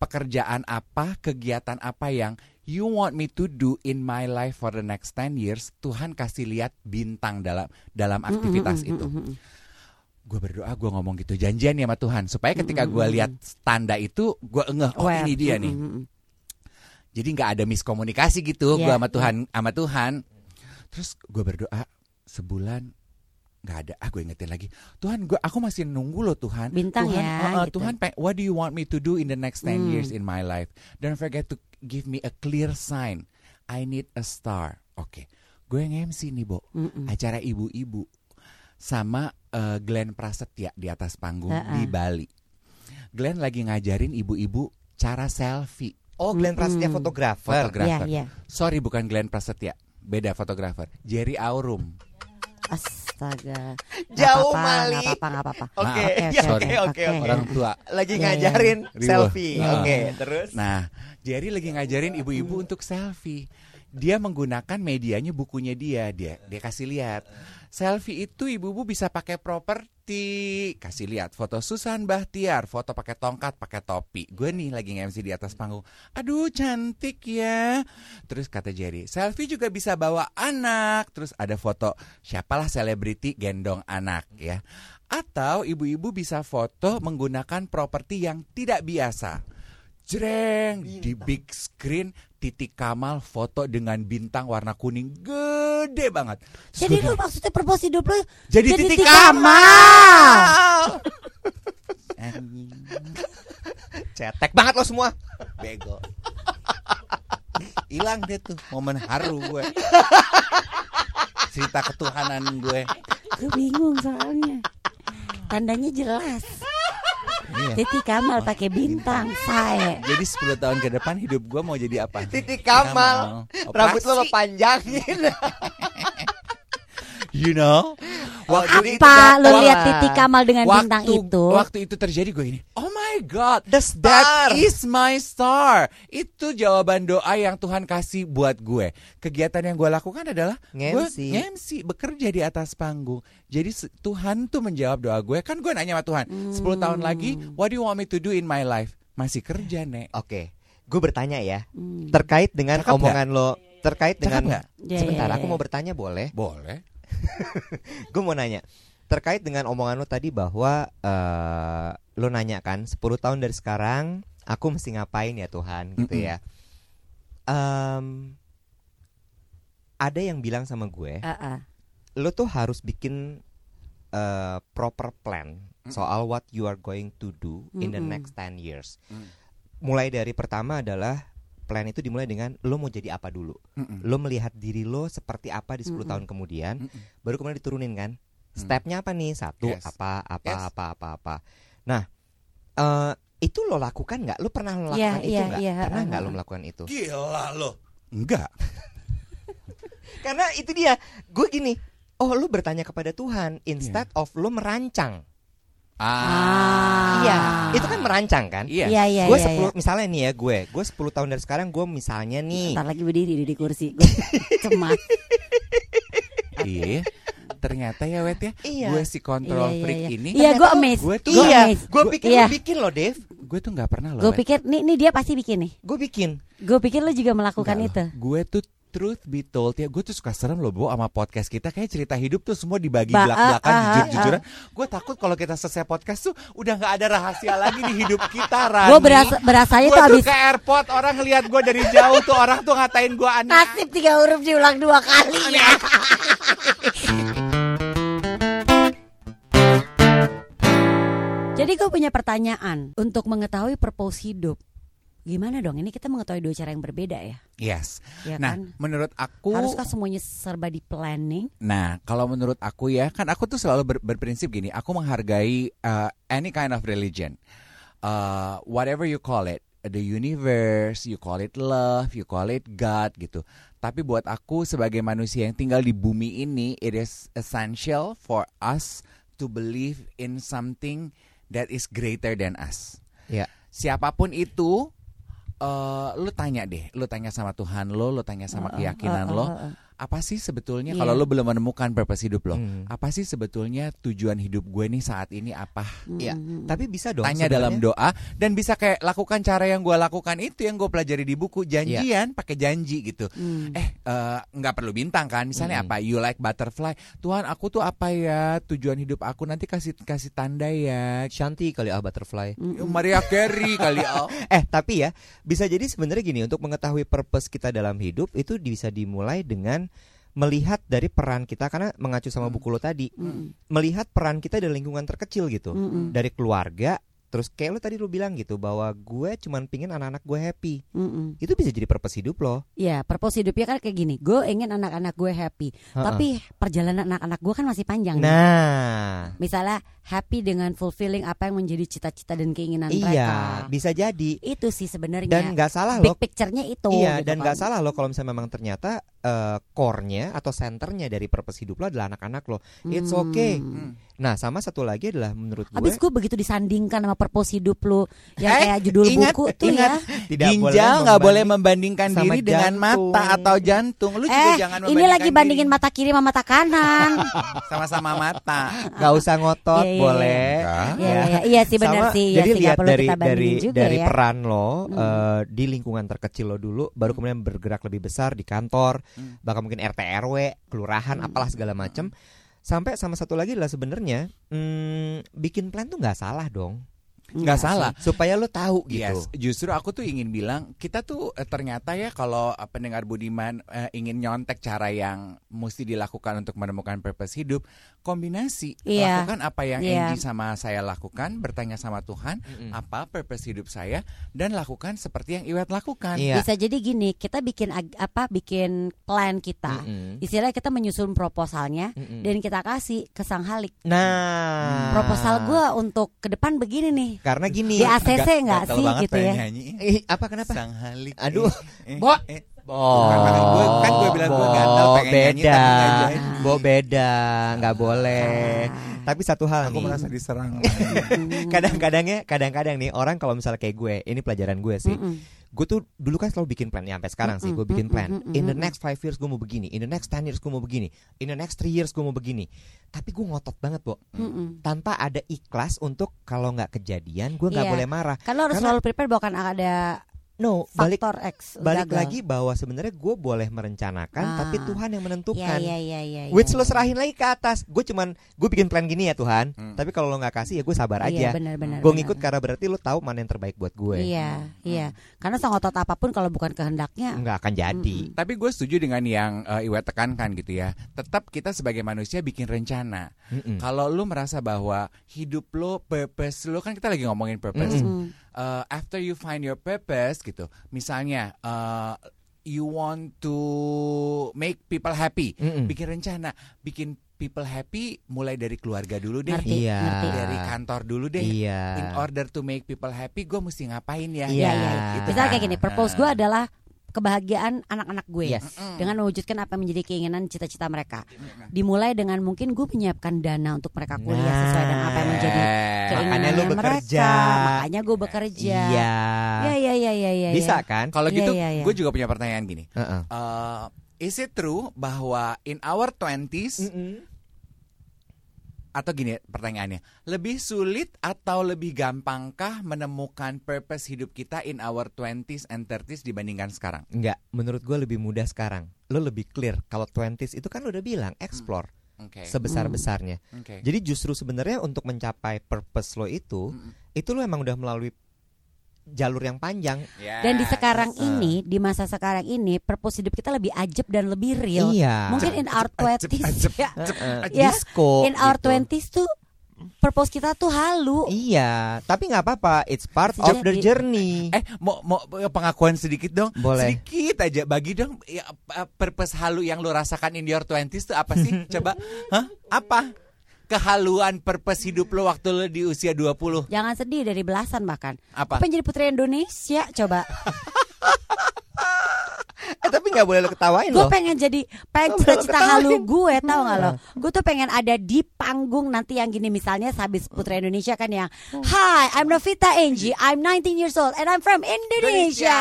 Speaker 2: Pekerjaan apa, kegiatan apa yang you want me to do in my life for the next 10 years, Tuhan kasih lihat bintang dalam dalam aktivitas
Speaker 3: Mm-mm,
Speaker 2: itu.
Speaker 3: mm-mm,
Speaker 2: Gue berdoa, gue ngomong gitu, janjian ya sama Tuhan supaya ketika gue lihat tanda itu, gue ngeh, oh
Speaker 3: Aware.
Speaker 2: ini dia
Speaker 3: Mm-mm,
Speaker 2: nih.
Speaker 3: mm-mm.
Speaker 2: Jadi nggak ada miskomunikasi gitu
Speaker 3: Iya.
Speaker 2: gua sama Tuhan, sama Tuhan. Terus gue berdoa sebulan nggak ada. Ah gue ingetin lagi. Tuhan, gua aku masih nunggu loh Tuhan.
Speaker 3: Bintang ya,
Speaker 2: Tuhan, eh, eh,
Speaker 3: gitu.
Speaker 2: Tuhan, pe- what do you want me to do in the next 10
Speaker 3: Hmm.
Speaker 2: years in my life? Don't forget to give me a clear sign. I need a star. Oke. Gue yang MC nih, Bo.
Speaker 3: Mm-mm.
Speaker 2: Acara ibu-ibu sama eh, Glenn Prasetya di atas panggung
Speaker 3: Ha-ha.
Speaker 2: di Bali. Glenn lagi ngajarin ibu-ibu cara selfie.
Speaker 1: Oh, Glenn
Speaker 2: gitu.
Speaker 1: Prasetya
Speaker 3: Mm-mm.
Speaker 1: fotografer.
Speaker 3: Iya,
Speaker 2: Fotografer.
Speaker 3: iya.
Speaker 2: Sorry bukan Glenn Prasetya, beda fotografer. Jerry Aurum.
Speaker 3: Astaga. Nggak
Speaker 1: Jauh,
Speaker 3: apa-apa,
Speaker 1: Mali.
Speaker 3: nggak apa-apa, nggak apa-apa.
Speaker 1: Oke,
Speaker 2: Maaf,
Speaker 1: ya,
Speaker 2: sorry.
Speaker 1: oke, oke,
Speaker 3: Eh.
Speaker 1: oke.
Speaker 2: Orang tua.
Speaker 1: Lagi
Speaker 3: Iya,
Speaker 1: ngajarin
Speaker 2: iya.
Speaker 1: selfie.
Speaker 2: Riwuh.
Speaker 1: Oke,
Speaker 2: Nah.
Speaker 1: terus.
Speaker 2: Nah, Jerry lagi ngajarin ibu-ibu untuk selfie. Dia menggunakan medianya bukunya dia, dia dia kasih lihat. Selfie itu ibu-ibu bisa pakai properti. Kasih lihat foto Susan Bahtiar, foto pakai tongkat, pakai topi. Gue nih lagi nge-MC di atas panggung. Aduh, cantik ya. Terus kata Jerry, selfie juga bisa bawa anak. Terus ada foto siapalah selebriti gendong anak ya. Atau ibu-ibu bisa foto menggunakan properti yang tidak biasa. Jreng di big screen Titik Kamal foto dengan bintang warna kuning gede banget. Terus
Speaker 3: Jadi
Speaker 2: gua
Speaker 3: lu
Speaker 2: bilang,
Speaker 3: maksudnya proposal hidup lu
Speaker 2: jadi,
Speaker 3: jadi
Speaker 2: titik,
Speaker 3: titik
Speaker 2: Kamal. Anjing,
Speaker 1: Cetek banget lo semua.
Speaker 2: bego. Hilang deh tuh momen haru gue. Cerita ketuhanan gue.
Speaker 3: Gue bingung soalnya Tandanya jelas
Speaker 2: Iya.
Speaker 3: Titik Kamal pakai bintang Sae
Speaker 2: Jadi 10 tahun ke depan hidup gue mau jadi apa?
Speaker 1: Titik Kamal.
Speaker 2: Kamal.
Speaker 1: Rambut lo lo
Speaker 2: Operasi.
Speaker 1: panjangin.
Speaker 2: You know? Waktu itu-
Speaker 3: Apa
Speaker 1: Wah.
Speaker 3: lo lihat titik Kamal dengan bintang itu
Speaker 2: Waktu itu terjadi gue ini. Oh my god.
Speaker 1: The star.
Speaker 2: That is my star. Itu jawaban doa yang Tuhan kasih buat gue. Kegiatan yang gue lakukan adalah gue
Speaker 1: Nge-MC.
Speaker 2: nge-MC, bekerja di atas panggung. Jadi se- Tuhan tuh menjawab doa gue. Kan gue nanya sama Tuhan, 10 tahun lagi what do you want me to do in my life? Masih kerja, Nek.
Speaker 1: Oke, gue bertanya ya
Speaker 3: Hmm.
Speaker 1: terkait dengan
Speaker 2: Cakep
Speaker 1: omongan lo, terkait
Speaker 2: Cakep
Speaker 1: dengan
Speaker 2: nggak?
Speaker 3: Ya,
Speaker 1: sebentar,
Speaker 3: ya,
Speaker 1: aku
Speaker 3: ya.
Speaker 1: mau bertanya boleh?
Speaker 2: Boleh.
Speaker 1: Gue mau nanya terkait dengan omongan lo tadi bahwa eh, lo nanya kan 10 tahun dari sekarang aku mesti ngapain ya Tuhan gitu
Speaker 2: Mm-mm.
Speaker 1: ya. Em, ada yang bilang sama gue,
Speaker 3: Ah, ah.
Speaker 1: lo tuh harus bikin eh, proper plan soal what you are going to do in the
Speaker 3: Mm-mm.
Speaker 1: next 10 years.
Speaker 2: Mm.
Speaker 1: Mulai dari pertama adalah plan itu dimulai dengan lo mau jadi apa dulu.
Speaker 2: Mm-mm.
Speaker 1: Lo melihat diri lo seperti apa di 10
Speaker 3: Mm-mm.
Speaker 1: tahun kemudian,
Speaker 2: Mm. Mm-mm.
Speaker 1: baru kemudian diturunin kan. Stepnya apa nih? Satu
Speaker 2: Yes.
Speaker 1: apa apa
Speaker 2: Yes.
Speaker 1: apa apa apa. Nah, eh, itu lo lakukan nggak? Lo pernah lo
Speaker 3: Iya,
Speaker 1: lakukan itu
Speaker 3: iya,
Speaker 1: nggak?
Speaker 3: iya,
Speaker 1: Pernah
Speaker 3: ah,
Speaker 1: nggak
Speaker 3: ah,
Speaker 1: lo
Speaker 3: ah.
Speaker 1: melakukan itu?
Speaker 2: Gila lo. Enggak.
Speaker 1: Karena itu dia, gue gini, oh lo bertanya kepada Tuhan instead of lo merancang.
Speaker 3: Ah.
Speaker 1: Iya, itu kan merancang kan?
Speaker 2: Iya.
Speaker 3: Iya iya
Speaker 1: gue
Speaker 3: iya,
Speaker 1: sepuluh,
Speaker 3: iya.
Speaker 1: misalnya nih ya gue, gue 10 tahun dari sekarang gue misalnya nih,
Speaker 3: Ntar lagi berdiri di- di kursi Gue cemas
Speaker 2: Iya. ya. Ternyata ya Wet ya.
Speaker 1: Iya.
Speaker 2: Gue si
Speaker 3: Iya,
Speaker 2: kontrol
Speaker 3: iya,
Speaker 2: freak
Speaker 3: iya.
Speaker 2: ini.
Speaker 3: Iya gue
Speaker 1: Ternyata
Speaker 3: amazed
Speaker 2: gue tuh-
Speaker 3: Gua
Speaker 1: iya,
Speaker 3: amazed.
Speaker 1: gue pikir
Speaker 3: Iya.
Speaker 1: lo bikin lo Dev,
Speaker 2: Gue tuh nggak pernah loh. eh.
Speaker 3: Gue
Speaker 2: Wet.
Speaker 3: pikir nih, nih dia pasti bikin nih
Speaker 1: gue bikin.
Speaker 3: Gue pikir lo juga melakukan
Speaker 2: Nggak
Speaker 3: itu
Speaker 2: loh. Gue tuh truth be told ya, gue tuh suka serem loh Bo sama podcast kita kayak cerita hidup tuh semua dibagi
Speaker 3: Ba-
Speaker 2: belak-belakan
Speaker 3: ah, ah,
Speaker 2: jujur-jujuran. Gue takut kalau kita selesai podcast tuh udah nggak ada rahasia lagi di hidup kita Rani.
Speaker 3: Gue berasa, berasanya
Speaker 2: Gue
Speaker 3: tuh
Speaker 2: tuh
Speaker 3: abis
Speaker 2: ke airport orang ngelihat gue dari jauh tuh orang tuh ngatain gue aneh.
Speaker 3: Nasib tiga huruf diulang dua kali ya Jadi gue punya pertanyaan Untuk mengetahui purpose hidup Gimana dong ini kita mengetahui dua cara yang berbeda ya
Speaker 2: Yes.
Speaker 3: Ya
Speaker 2: Nah,
Speaker 3: kan
Speaker 2: menurut aku
Speaker 3: Haruskah semuanya serba di planning
Speaker 2: Nah, kalau menurut aku ya, kan aku tuh selalu ber- berprinsip gini, aku menghargai uh, any kind of religion. Uh, whatever you call it, the universe, you call it love, you call it God gitu. Tapi buat aku sebagai manusia yang tinggal di bumi ini, it is essential for us to believe in something that is greater than us.
Speaker 1: Iya.
Speaker 2: Siapapun itu eh lu tanya deh, lu tanya sama Tuhan lo, lu tanya sama
Speaker 3: ah,
Speaker 2: keyakinan
Speaker 3: Oh,
Speaker 2: lo, apa sih sebetulnya
Speaker 3: Iya.
Speaker 2: kalau lo belum menemukan purpose hidup lo?
Speaker 1: Hmm.
Speaker 2: Apa sih sebetulnya tujuan hidup gue nih saat ini apa?
Speaker 3: Hmm.
Speaker 1: Iya. Tapi bisa dong.
Speaker 2: Tanya dalam
Speaker 1: sebenarnya.
Speaker 2: doa dan bisa kayak lakukan cara yang gue lakukan itu yang gue pelajari di buku janjian pakai janji gitu.
Speaker 3: Hmm.
Speaker 2: Eh eh, nggak perlu bintang kan? Misalnya
Speaker 1: Mm-mm.
Speaker 2: apa? You like butterfly. Tuhan aku tuh apa ya tujuan hidup aku nanti kasih kasih tanda ya.
Speaker 1: Shanti kali ah butterfly.
Speaker 2: Maria Carey kali oh.
Speaker 1: Eh tapi ya bisa jadi sebenarnya gini untuk mengetahui purpose kita dalam hidup itu bisa dimulai dengan melihat dari peran kita karena mengacu sama buku
Speaker 3: Hmm.
Speaker 1: lo tadi melihat peran kita dari lingkungan terkecil gitu dari keluarga terus kayak lo tadi lo bilang gitu bahwa gue cuman pingin anak-anak gue happy itu bisa jadi purpose hidup lo
Speaker 3: Ya, purpose hidupnya kan kayak gini. Gue ingin anak-anak gue happy.
Speaker 1: Ha-ha.
Speaker 3: Tapi perjalanan anak-anak gue kan masih panjang. nih.
Speaker 1: nah
Speaker 3: Misalnya happy dengan fulfilling apa yang menjadi cita-cita dan keinginan mereka.
Speaker 1: iya bisa jadi
Speaker 3: Itu sih sebenarnya.
Speaker 1: dan nggak salah
Speaker 3: Big
Speaker 1: lo
Speaker 3: picture-nya itu.
Speaker 1: Iya
Speaker 3: gitu
Speaker 1: dan
Speaker 3: kan.
Speaker 1: nggak salah loh kalau misalnya memang ternyata eh, core-nya atau senternya dari purpose hidup lo adalah anak-anak lo. It's
Speaker 3: Hmm.
Speaker 1: okay. Nah sama satu lagi adalah menurut gue
Speaker 3: Abis gue begitu disandingkan sama purpose hidup lu yang
Speaker 2: Eh,
Speaker 3: kayak judul
Speaker 2: ingat,
Speaker 3: buku tuh
Speaker 2: ingat.
Speaker 3: ya.
Speaker 1: tidak
Speaker 2: Ginjal nggak boleh membandingkan
Speaker 1: sama
Speaker 2: diri dengan
Speaker 1: jantung.
Speaker 2: mata atau jantung. Lu juga
Speaker 3: Eh,
Speaker 2: jangan
Speaker 3: ini lagi bandingin
Speaker 2: bandingkan
Speaker 3: mata kiri sama mata kanan.
Speaker 2: diri. sama-sama mata.
Speaker 1: nggak usah ngotot
Speaker 3: Iya, iya,
Speaker 1: boleh. Ya.
Speaker 3: Iya, iya, iya sih benar
Speaker 1: Sama,
Speaker 3: sih. Ya sih,
Speaker 1: jadi
Speaker 3: nggak
Speaker 1: lihat
Speaker 3: perlu
Speaker 1: dari
Speaker 3: kita
Speaker 1: dari
Speaker 3: bandingin juga
Speaker 1: dari
Speaker 3: ya.
Speaker 1: peran lo
Speaker 3: Hmm.
Speaker 1: eh, di lingkungan terkecil lo dulu, baru kemudian bergerak lebih besar di kantor,
Speaker 2: Hmm.
Speaker 1: bahkan mungkin RT RW, kelurahan,
Speaker 3: Hmm.
Speaker 1: apalah segala macem. Sampai sama satu lagi adalah sebenarnya hmm, bikin plan tuh nggak salah dong,
Speaker 2: Nggak salah.
Speaker 1: supaya lo tahu gitu.
Speaker 2: Yes, justru aku tuh ingin bilang kita tuh eh, ternyata ya kalau eh, pendengar Budiman eh, ingin nyontek cara yang mesti dilakukan untuk menemukan purpose hidup, kombinasi
Speaker 3: Iya.
Speaker 2: lakukan apa yang
Speaker 3: Iya.
Speaker 2: Angie sama saya lakukan, bertanya sama Tuhan
Speaker 1: Mm-mm.
Speaker 2: apa purpose hidup saya dan lakukan seperti yang Iwet lakukan.
Speaker 1: Iya.
Speaker 3: Bisa jadi gini, kita bikin ag- apa bikin plan kita.
Speaker 1: Mm-mm. Mm.
Speaker 3: Istilahnya kita menyusun proposalnya
Speaker 1: Mm-mm.
Speaker 3: dan kita kasih ke Sang Halik.
Speaker 1: Nah,
Speaker 3: Proposal gue untuk ke depan begini nih.
Speaker 1: karena gini.
Speaker 3: Di ACC nggak
Speaker 2: gatel
Speaker 3: sih
Speaker 2: banget
Speaker 3: gitu
Speaker 2: pengen
Speaker 3: ya?
Speaker 2: nyanyi.
Speaker 1: Eh, apa kenapa?
Speaker 2: Sang Halik.
Speaker 1: Aduh.
Speaker 2: eh, eh,
Speaker 1: Bo.
Speaker 2: eh.
Speaker 1: Bo.
Speaker 2: Bukan makan gua, kan gua bilang gua gatel pengen nyanyi,
Speaker 1: Oh, beda.
Speaker 2: tapi nggak jadi.
Speaker 1: Bo beda, nggak
Speaker 3: Ah.
Speaker 1: boleh. Tapi satu hal
Speaker 2: Aku
Speaker 1: nih.
Speaker 2: merasa diserang.
Speaker 1: Kadang-kadangnya, kadang-kadang nih orang kalau misalnya kayak gue, ini pelajaran gue sih.
Speaker 3: Mm-mm.
Speaker 1: Gue tuh dulu kan selalu bikin plan, ya, sampai sekarang sih gue bikin plan. In the next five years gue mau begini, in the next 10 years gue mau begini, in the next three years gue mau begini. Tapi gue ngotot banget, Bo.
Speaker 3: Mm-mm.
Speaker 1: Tanpa ada ikhlas untuk kalau nggak kejadian gue nggak
Speaker 3: Iya.
Speaker 1: boleh marah.
Speaker 3: Kan lo harus
Speaker 1: Karena-
Speaker 3: selalu prepare bahwa kan ada
Speaker 1: No, balik
Speaker 3: faktor X
Speaker 1: balik
Speaker 3: gagal.
Speaker 1: lagi bahwa sebenarnya gue boleh merencanakan
Speaker 3: Ah.
Speaker 1: tapi Tuhan yang menentukan
Speaker 3: Iya, iya, iya, iya. iya.
Speaker 1: kan. Which lo serahin lagi ke atas Gue cuman Gue bikin plan gini ya Tuhan
Speaker 2: Hmm.
Speaker 1: Tapi kalau lo gak kasih ya gue sabar
Speaker 3: Iya,
Speaker 1: aja
Speaker 3: benar, benar,
Speaker 1: Gue
Speaker 3: benar.
Speaker 1: ngikut karena berarti lo tahu mana yang terbaik buat gue Hmm.
Speaker 3: Iya, iya. Karena sang otot apapun kalau bukan kehendaknya.
Speaker 1: nggak akan Hmm, jadi
Speaker 2: Tapi gue setuju dengan yang eh, Iwa tekankan gitu ya. Tetap kita sebagai manusia bikin rencana.
Speaker 1: Mm-mm.
Speaker 3: Hmm.
Speaker 2: Kalau lu merasa bahwa hidup lu, purpose lu kan kita lagi ngomongin purpose.
Speaker 3: Mm.
Speaker 1: Mm-mm.
Speaker 2: Uh, after you find your purpose gitu. Misalnya uh, you want to make people happy.
Speaker 3: Hmm.
Speaker 1: Mm-mm.
Speaker 2: Bikin rencana, bikin people happy mulai dari keluarga dulu deh.
Speaker 3: Ngerti,
Speaker 1: Iya.
Speaker 3: ngerti.
Speaker 2: Dari kantor dulu deh.
Speaker 1: Iya
Speaker 2: In order to make people happy, gue mesti ngapain ya?
Speaker 1: Iya.
Speaker 3: Iya, iya. iya.
Speaker 1: Gitu
Speaker 3: Misalnya
Speaker 2: kan.
Speaker 3: kayak gini, purpose gue adalah kebahagiaan anak-anak gue
Speaker 1: Yes.
Speaker 3: dengan mewujudkan apa yang menjadi keinginan cita-cita mereka. Dimulai dengan mungkin gue menyiapkan dana untuk mereka kuliah
Speaker 1: Nah.
Speaker 3: sesuai dengan apa yang menjadi
Speaker 2: Eh,
Speaker 1: Makanya
Speaker 3: keinginan
Speaker 1: lu bekerja.
Speaker 3: mereka. Makanya gue bekerja.
Speaker 1: Iya
Speaker 3: Iya, iya, iya, iya, iya.
Speaker 1: Bisa kan
Speaker 2: Kalau
Speaker 3: Iya,
Speaker 2: gitu,
Speaker 3: iya, iya.
Speaker 2: gue juga punya pertanyaan gini.
Speaker 1: Heeh.
Speaker 2: Uh, is it true bahwa in our 20s atau gini pertanyaannya, lebih sulit atau lebih gampangkah menemukan purpose hidup kita in our 20s and 30s dibandingkan sekarang?
Speaker 1: Nggak Menurut gue lebih mudah sekarang Lo lebih clear Kalau 20s itu kan lo udah bilang Explore
Speaker 2: Hmm. Oke. Hmm.
Speaker 1: Sebesar-besarnya
Speaker 2: Oke.
Speaker 1: Jadi justru sebenarnya untuk mencapai purpose lo itu,
Speaker 2: Mm-mm.
Speaker 1: itu lo emang udah melalui jalur yang panjang.
Speaker 2: Yes.
Speaker 3: Dan
Speaker 1: kan?
Speaker 3: di sekarang ini, di masa sekarang ini, purpose hidup kita lebih ajeb dan lebih real.
Speaker 1: Iya.
Speaker 3: Mungkin in our 20s ya.
Speaker 1: Heeh,
Speaker 2: eh,
Speaker 3: Iya.
Speaker 1: disco.
Speaker 3: In our
Speaker 1: gitu.
Speaker 3: 20s tuh purpose kita tuh halu.
Speaker 1: Iya, tapi nggak apa-apa. It's part
Speaker 3: Jadi-
Speaker 1: of the journey.
Speaker 2: Eh, mau mau pengakuan sedikit dong.
Speaker 1: Boleh.
Speaker 2: Sedikit aja bagi dong ya, apa- purpose halu yang lu rasakan in your 20s itu apa sih? Coba. Hah? Apa? Kehaluan purpose hidup lo waktu lo di usia 20
Speaker 3: Jangan sedih dari belasan bahkan.
Speaker 2: apa?
Speaker 3: Pengen jadi putri Indonesia coba.
Speaker 1: Eh, tapi nggak boleh lo ketawain
Speaker 3: Gue
Speaker 1: loh.
Speaker 3: pengen jadi pengen
Speaker 1: Lo
Speaker 3: cita-cita
Speaker 1: ketawain. Hmm.
Speaker 3: halu gue tau gak lo Gue tuh pengen ada di panggung nanti yang gini misalnya Sabis Putra Indonesia kan yang
Speaker 1: Hmm.
Speaker 3: Hi I'm Novita Angie I'm 19 years old and I'm from Indonesia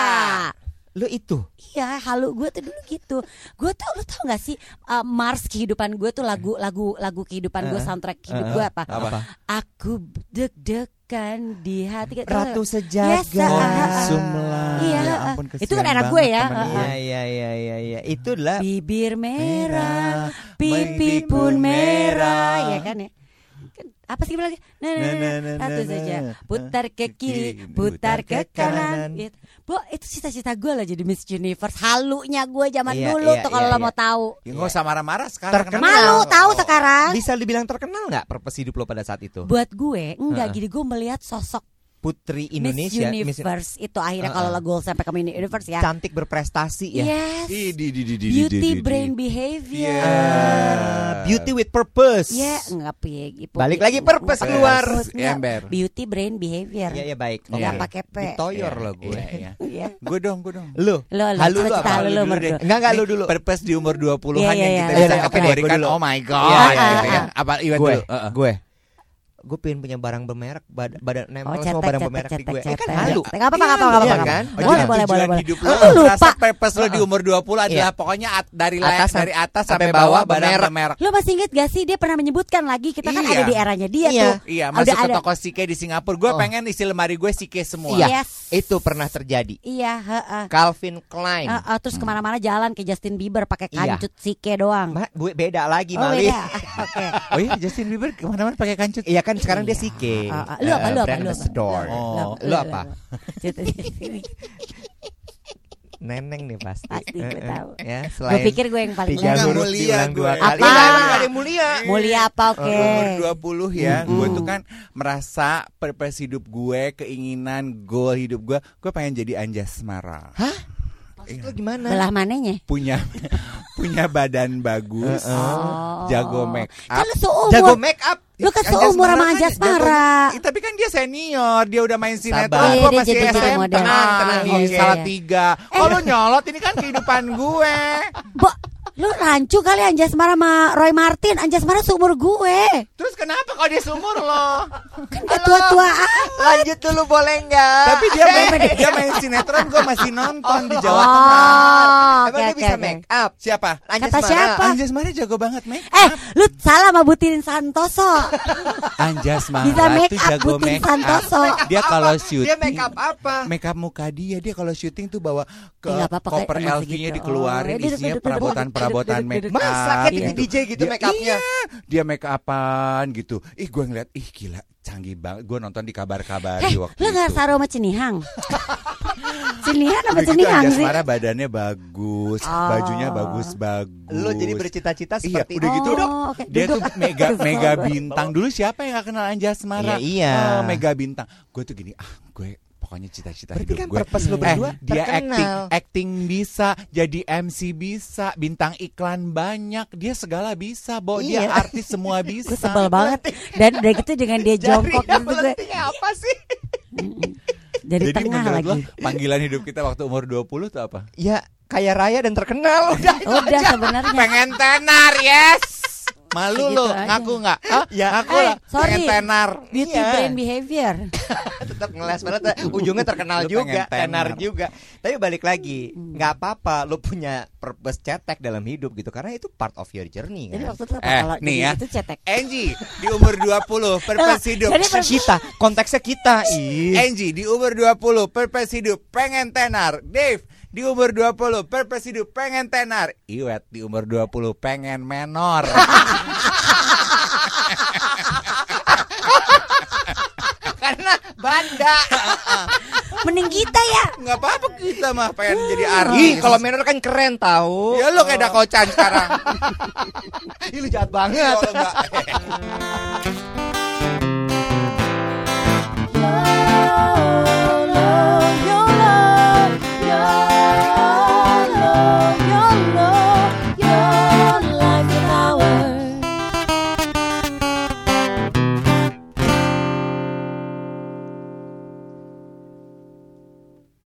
Speaker 1: Lo itu.
Speaker 3: Iya halu gue tuh dulu gitu Gue tuh lu tau gak sih uh, Mars kehidupan gue tuh lagu lagu lagu kehidupan gue soundtrack hidup gue apa
Speaker 1: Eh, Apa?
Speaker 3: Aku deg-degan di hati
Speaker 1: Ratu
Speaker 3: Yes,
Speaker 1: sejagat.
Speaker 3: ah, ah, ah.
Speaker 2: Sumlah.
Speaker 3: Iya,
Speaker 2: Oh, Ya
Speaker 3: ah,
Speaker 2: ampun,
Speaker 3: ah.
Speaker 2: kesian
Speaker 3: Itu kan anak gue
Speaker 2: banget
Speaker 3: ya,
Speaker 2: temen
Speaker 3: ah,
Speaker 2: gue.
Speaker 1: Iya iya iya iya iya. Itu lah
Speaker 3: Bibir merah, pipi pun merah, ya kan ya? Kan, Apa sih lagi? Nah, nah, nah, nah, satu
Speaker 2: nah,
Speaker 3: saja.
Speaker 2: nah.
Speaker 3: Putar ke kiri, putar ke kanan. Gitu. Bu, itu cita-cita gue loh jadi Miss Universe. Halunya gue zaman
Speaker 1: Iya,
Speaker 3: dulu
Speaker 1: iya,
Speaker 3: tuh kalau
Speaker 1: iya,
Speaker 3: lo mau
Speaker 1: iya.
Speaker 3: tahu.
Speaker 2: Ya nggak usah marah-marah sekarang.
Speaker 1: Terkenal.
Speaker 2: kenapa?
Speaker 3: Malu tahu
Speaker 2: Oh.
Speaker 3: sekarang.
Speaker 1: bisa dibilang terkenal nggak purpose hidup lo pada saat itu?
Speaker 3: Buat gue enggak gini gue melihat sosok
Speaker 1: Putri Indonesia,
Speaker 3: Miss Universe itu akhirnya
Speaker 1: Ah,
Speaker 3: kalau lo
Speaker 1: ah.
Speaker 3: goal sampai ke Miss Universe ya. Iya.
Speaker 1: cantik berprestasi ya.
Speaker 3: Yes.
Speaker 2: Di, di, di, di, di, di, di, Iya.
Speaker 3: Beauty
Speaker 2: di.
Speaker 3: brain behavior.
Speaker 1: Ah, beauty with purpose.
Speaker 3: Ya, enggak pi-
Speaker 1: Balik lagi purpose
Speaker 3: Purpose,
Speaker 1: keluar.
Speaker 3: enggak.
Speaker 2: Ember.
Speaker 3: Beauty brain behavior.
Speaker 1: Iya iya baik.
Speaker 2: Nggak
Speaker 1: Oke.
Speaker 3: pakai P.
Speaker 1: Ditoyor lo gue.
Speaker 2: Iya, iya.
Speaker 3: Iya.
Speaker 2: Gue dong, gue dong.
Speaker 1: Lu,
Speaker 3: Lo, lo,
Speaker 1: halu lu
Speaker 3: cita-cita
Speaker 1: apa?
Speaker 3: halu lu nomor dua.
Speaker 1: Enggak enggak lu dulu.
Speaker 2: Purpose di umur 20-an
Speaker 3: Iya, iya,
Speaker 2: yang
Speaker 3: iya. Iya,
Speaker 2: kita
Speaker 1: iya,
Speaker 2: bisa
Speaker 1: oke deh,
Speaker 2: kategorikan
Speaker 1: gue dulu.
Speaker 2: oh my god
Speaker 1: Iya,
Speaker 3: iya,
Speaker 2: gitu
Speaker 3: iya.
Speaker 2: ya. Apa Iwan
Speaker 1: gue,
Speaker 2: dulu? Heeh.
Speaker 1: gue. Gue pengen punya barang bermerek, bad- badan
Speaker 3: Oh,
Speaker 1: nempel semua
Speaker 3: cetek,
Speaker 1: barang
Speaker 3: cetek,
Speaker 1: bermerek di
Speaker 3: cetek,
Speaker 1: gue. Eh,
Speaker 3: cetek.
Speaker 1: kan halu.
Speaker 3: Nggak apa-apa, nggak apa-apa,
Speaker 1: Iya,
Speaker 3: nggak apa-apa.
Speaker 1: kan?
Speaker 3: Oh, Boleh,
Speaker 2: jadi
Speaker 3: boleh,
Speaker 2: tujuan
Speaker 3: boleh,
Speaker 2: hidup
Speaker 3: boleh.
Speaker 2: lu,
Speaker 3: Lu lupa.
Speaker 2: merasa purpose lu di umur 20 adalah
Speaker 1: Iya.
Speaker 2: pokoknya at- dari la-
Speaker 1: Atas sam-
Speaker 2: dari atas
Speaker 1: sampai
Speaker 2: sampai
Speaker 1: bawah
Speaker 2: bawah benar merek.
Speaker 3: Lo masih inget gak sih dia pernah menyebutkan lagi kita kan
Speaker 2: Iya.
Speaker 3: ada di eranya dia
Speaker 1: Iya.
Speaker 3: tuh.
Speaker 2: Iya,
Speaker 3: Udah
Speaker 2: masuk ke
Speaker 3: ada-
Speaker 2: toko Sike di Singapura. Gue
Speaker 1: Oh.
Speaker 2: pengen isi lemari gue Sike semua.
Speaker 1: Iya,
Speaker 3: Yes.
Speaker 1: itu pernah terjadi.
Speaker 3: Iya, heeh.
Speaker 1: Calvin
Speaker 3: Eh,
Speaker 1: Klein.
Speaker 3: eh, terus kemana-mana jalan ke Justin Bieber pakai
Speaker 1: Iya.
Speaker 3: kancut sike doang.
Speaker 1: Ma, bu- beda
Speaker 3: oh
Speaker 1: lagi, Mali.
Speaker 3: beda. Oke.
Speaker 2: Oh iya, Justin Bieber kemana-mana pakai kancut.
Speaker 1: Iya kan sekarang dia
Speaker 3: Iya.
Speaker 1: Sike.
Speaker 3: Ah, ah. Lu apa, lu apa,
Speaker 1: Brand
Speaker 3: lu apa?
Speaker 1: ambassador.
Speaker 2: Lu apa? Oh.
Speaker 1: Lu apa?
Speaker 3: Cita-
Speaker 1: Neneng nih pasti.
Speaker 3: Pasti, gue
Speaker 1: Eh, eh.
Speaker 3: tahu.
Speaker 1: Ya,
Speaker 3: Gue
Speaker 1: selain
Speaker 3: pikir gue yang paling
Speaker 1: tiga
Speaker 2: Enggak,
Speaker 1: huruf
Speaker 2: mulia
Speaker 1: diulang
Speaker 2: gue.
Speaker 1: dua kali.
Speaker 3: Apa?
Speaker 1: Iya, emang ada yang mulia.
Speaker 3: mulia apa oke?
Speaker 2: Umur 20 ya, gue tuh kan merasa purpose hidup gue, keinginan, goal hidup gue, gue pengen jadi Anjasmara.
Speaker 1: Hah? Maksud lu gimana?
Speaker 3: Belah mananya?
Speaker 2: Punya punya badan bagus, jago make
Speaker 3: Kan
Speaker 2: up.
Speaker 3: lu seumur.
Speaker 1: Jago make up.
Speaker 3: Lu kan
Speaker 2: Anjas
Speaker 3: seumur sama
Speaker 2: Mara kan
Speaker 3: Anjas
Speaker 2: jago-
Speaker 3: Mara.
Speaker 2: Ih, tapi kan dia senior, dia udah main
Speaker 1: Sabar.
Speaker 2: sinetron,
Speaker 1: Iya,
Speaker 2: gue
Speaker 3: dia
Speaker 2: masih
Speaker 3: jadi
Speaker 2: SMP.
Speaker 3: model.
Speaker 2: Tenang, tenang,
Speaker 3: Ah,
Speaker 2: Ih,
Speaker 3: iya,
Speaker 2: salah
Speaker 3: iya.
Speaker 2: tiga. Kalau nyolot ini kan kehidupan gue.
Speaker 3: Bo, lu rancu kali Anjasmara sama Roy Martin. Anjasmara seumur gue.
Speaker 2: Terus kenapa kalau dia seumur lo?
Speaker 3: Kan udah tua-tuaan.
Speaker 1: Lanjut dulu boleh nggak?
Speaker 2: Tapi dia main,
Speaker 3: Apa deh?
Speaker 2: dia main sinetron, gue masih nonton di Jawa
Speaker 3: Oh,
Speaker 2: Tengah.
Speaker 1: Emang
Speaker 3: oke,
Speaker 1: dia
Speaker 3: oke,
Speaker 1: bisa
Speaker 3: oke.
Speaker 1: make up.
Speaker 2: Siapa?
Speaker 1: Lanjut
Speaker 3: Kata
Speaker 1: Mara.
Speaker 3: siapa?
Speaker 2: Anjas Mara jago banget make
Speaker 3: Eh, lu salah sama Butirin Santoso.
Speaker 2: Anjas Mara
Speaker 3: Bisa make
Speaker 2: tuh
Speaker 3: up,
Speaker 2: jago
Speaker 3: Putri
Speaker 2: make
Speaker 3: Santoso.
Speaker 2: up. Dia
Speaker 1: Apa?
Speaker 2: kalau syuting
Speaker 1: Dia make up apa?
Speaker 2: Make up muka dia, dia kalau syuting tuh bawa ke
Speaker 3: Eh, nggak apa-apa, kayak
Speaker 2: koper
Speaker 3: emang
Speaker 2: LV-nya
Speaker 3: segitu.
Speaker 2: dikeluarin,
Speaker 3: Oh, duduk,
Speaker 2: isinya
Speaker 3: duduk, duduk,
Speaker 2: perabotan-perabotan
Speaker 3: duduk,
Speaker 2: make
Speaker 3: duduk,
Speaker 2: up.
Speaker 3: duduk.
Speaker 1: Masa kayak jadi
Speaker 2: gitu.
Speaker 1: DJ gitu
Speaker 2: Dia-
Speaker 1: make upnya?
Speaker 2: Iya, dia make upan gitu. Ih, gue ngeliat, ih gila, canggih banget. Gue nonton di kabar-kabar
Speaker 3: Eh,
Speaker 2: di waktu
Speaker 3: lu
Speaker 2: itu.
Speaker 3: gak saru sama Cenihang? Cenihang apa
Speaker 2: Begitu
Speaker 3: Cenihang
Speaker 2: Anjas
Speaker 3: sih?
Speaker 2: Mara badannya bagus,
Speaker 3: Oh.
Speaker 2: bajunya bagus-bagus.
Speaker 1: Lo jadi bercita-cita
Speaker 2: Iya,
Speaker 1: seperti
Speaker 2: udah gitu
Speaker 3: Oh,
Speaker 2: dong.
Speaker 3: oke,
Speaker 2: Dia
Speaker 3: duduk.
Speaker 2: tuh mega
Speaker 3: Kesel
Speaker 2: mega
Speaker 3: gue.
Speaker 2: bintang dulu siapa yang gak kenal Anjasmara?
Speaker 1: Iya, iya.
Speaker 2: Ah, mega bintang. Gue tuh gini, ah gue pokoknya cita-cita
Speaker 1: Berarti
Speaker 2: hidup
Speaker 1: kan
Speaker 2: gue.
Speaker 1: purpose lu
Speaker 2: eh,
Speaker 1: berdua
Speaker 2: dia
Speaker 1: terkenal.
Speaker 2: acting, acting bisa, jadi MC bisa, bintang iklan banyak, dia segala bisa, bo dia
Speaker 1: Iya.
Speaker 2: artis semua bisa.
Speaker 3: Gue sebel banget. Dan udah gitu dengan dia jongkok
Speaker 1: Jarinya
Speaker 3: gitu gue
Speaker 1: melentingnya apa sih?
Speaker 3: dari
Speaker 2: Jadi
Speaker 3: tengah
Speaker 2: menurut lo,
Speaker 3: lagi.
Speaker 2: panggilan hidup kita waktu umur 20 tuh apa?
Speaker 1: Ya kaya raya dan terkenal udah itu
Speaker 3: Udah
Speaker 1: aja.
Speaker 3: sebenarnya.
Speaker 2: Pengen tenar, yes. Malu
Speaker 3: Gitu
Speaker 2: lo,
Speaker 3: aja.
Speaker 2: ngaku nggak? Hah?
Speaker 1: Ya.
Speaker 2: ngaku
Speaker 3: Eh,
Speaker 2: lah.
Speaker 3: sorry.
Speaker 2: Pengen tenar.
Speaker 3: Beauty
Speaker 1: Iya.
Speaker 3: brain behavior.
Speaker 1: tetap ngeles banget ujungnya terkenal
Speaker 2: Lu pengen
Speaker 1: juga tenar
Speaker 2: tenar.
Speaker 1: juga tapi balik lagi nggak apa-apa lo punya purpose cetek dalam hidup gitu karena itu part of your journey
Speaker 3: Jadi
Speaker 1: kan
Speaker 3: waktu itu apa
Speaker 2: Eh,
Speaker 3: kalau
Speaker 2: nih
Speaker 3: jadi
Speaker 2: ya.
Speaker 3: itu cetek.
Speaker 2: Angie di umur 20 purpose hidup.
Speaker 1: Iya,
Speaker 3: Jadi per-
Speaker 1: kita konteksnya kita ih
Speaker 2: Angie di umur 20 purpose hidup pengen tenar. Dave di umur 20 purpose hidup pengen tenar. Iwet di umur 20 pengen menor.
Speaker 1: karena banda
Speaker 3: Mending kita ya.
Speaker 2: Nggak apa-apa kita mah pengen jadi artis.
Speaker 1: ih kalau menor kan keren tahu
Speaker 2: ya lu kayak Dakocan sekarang.
Speaker 1: ih lu jahat banget
Speaker 2: Kalau nggak-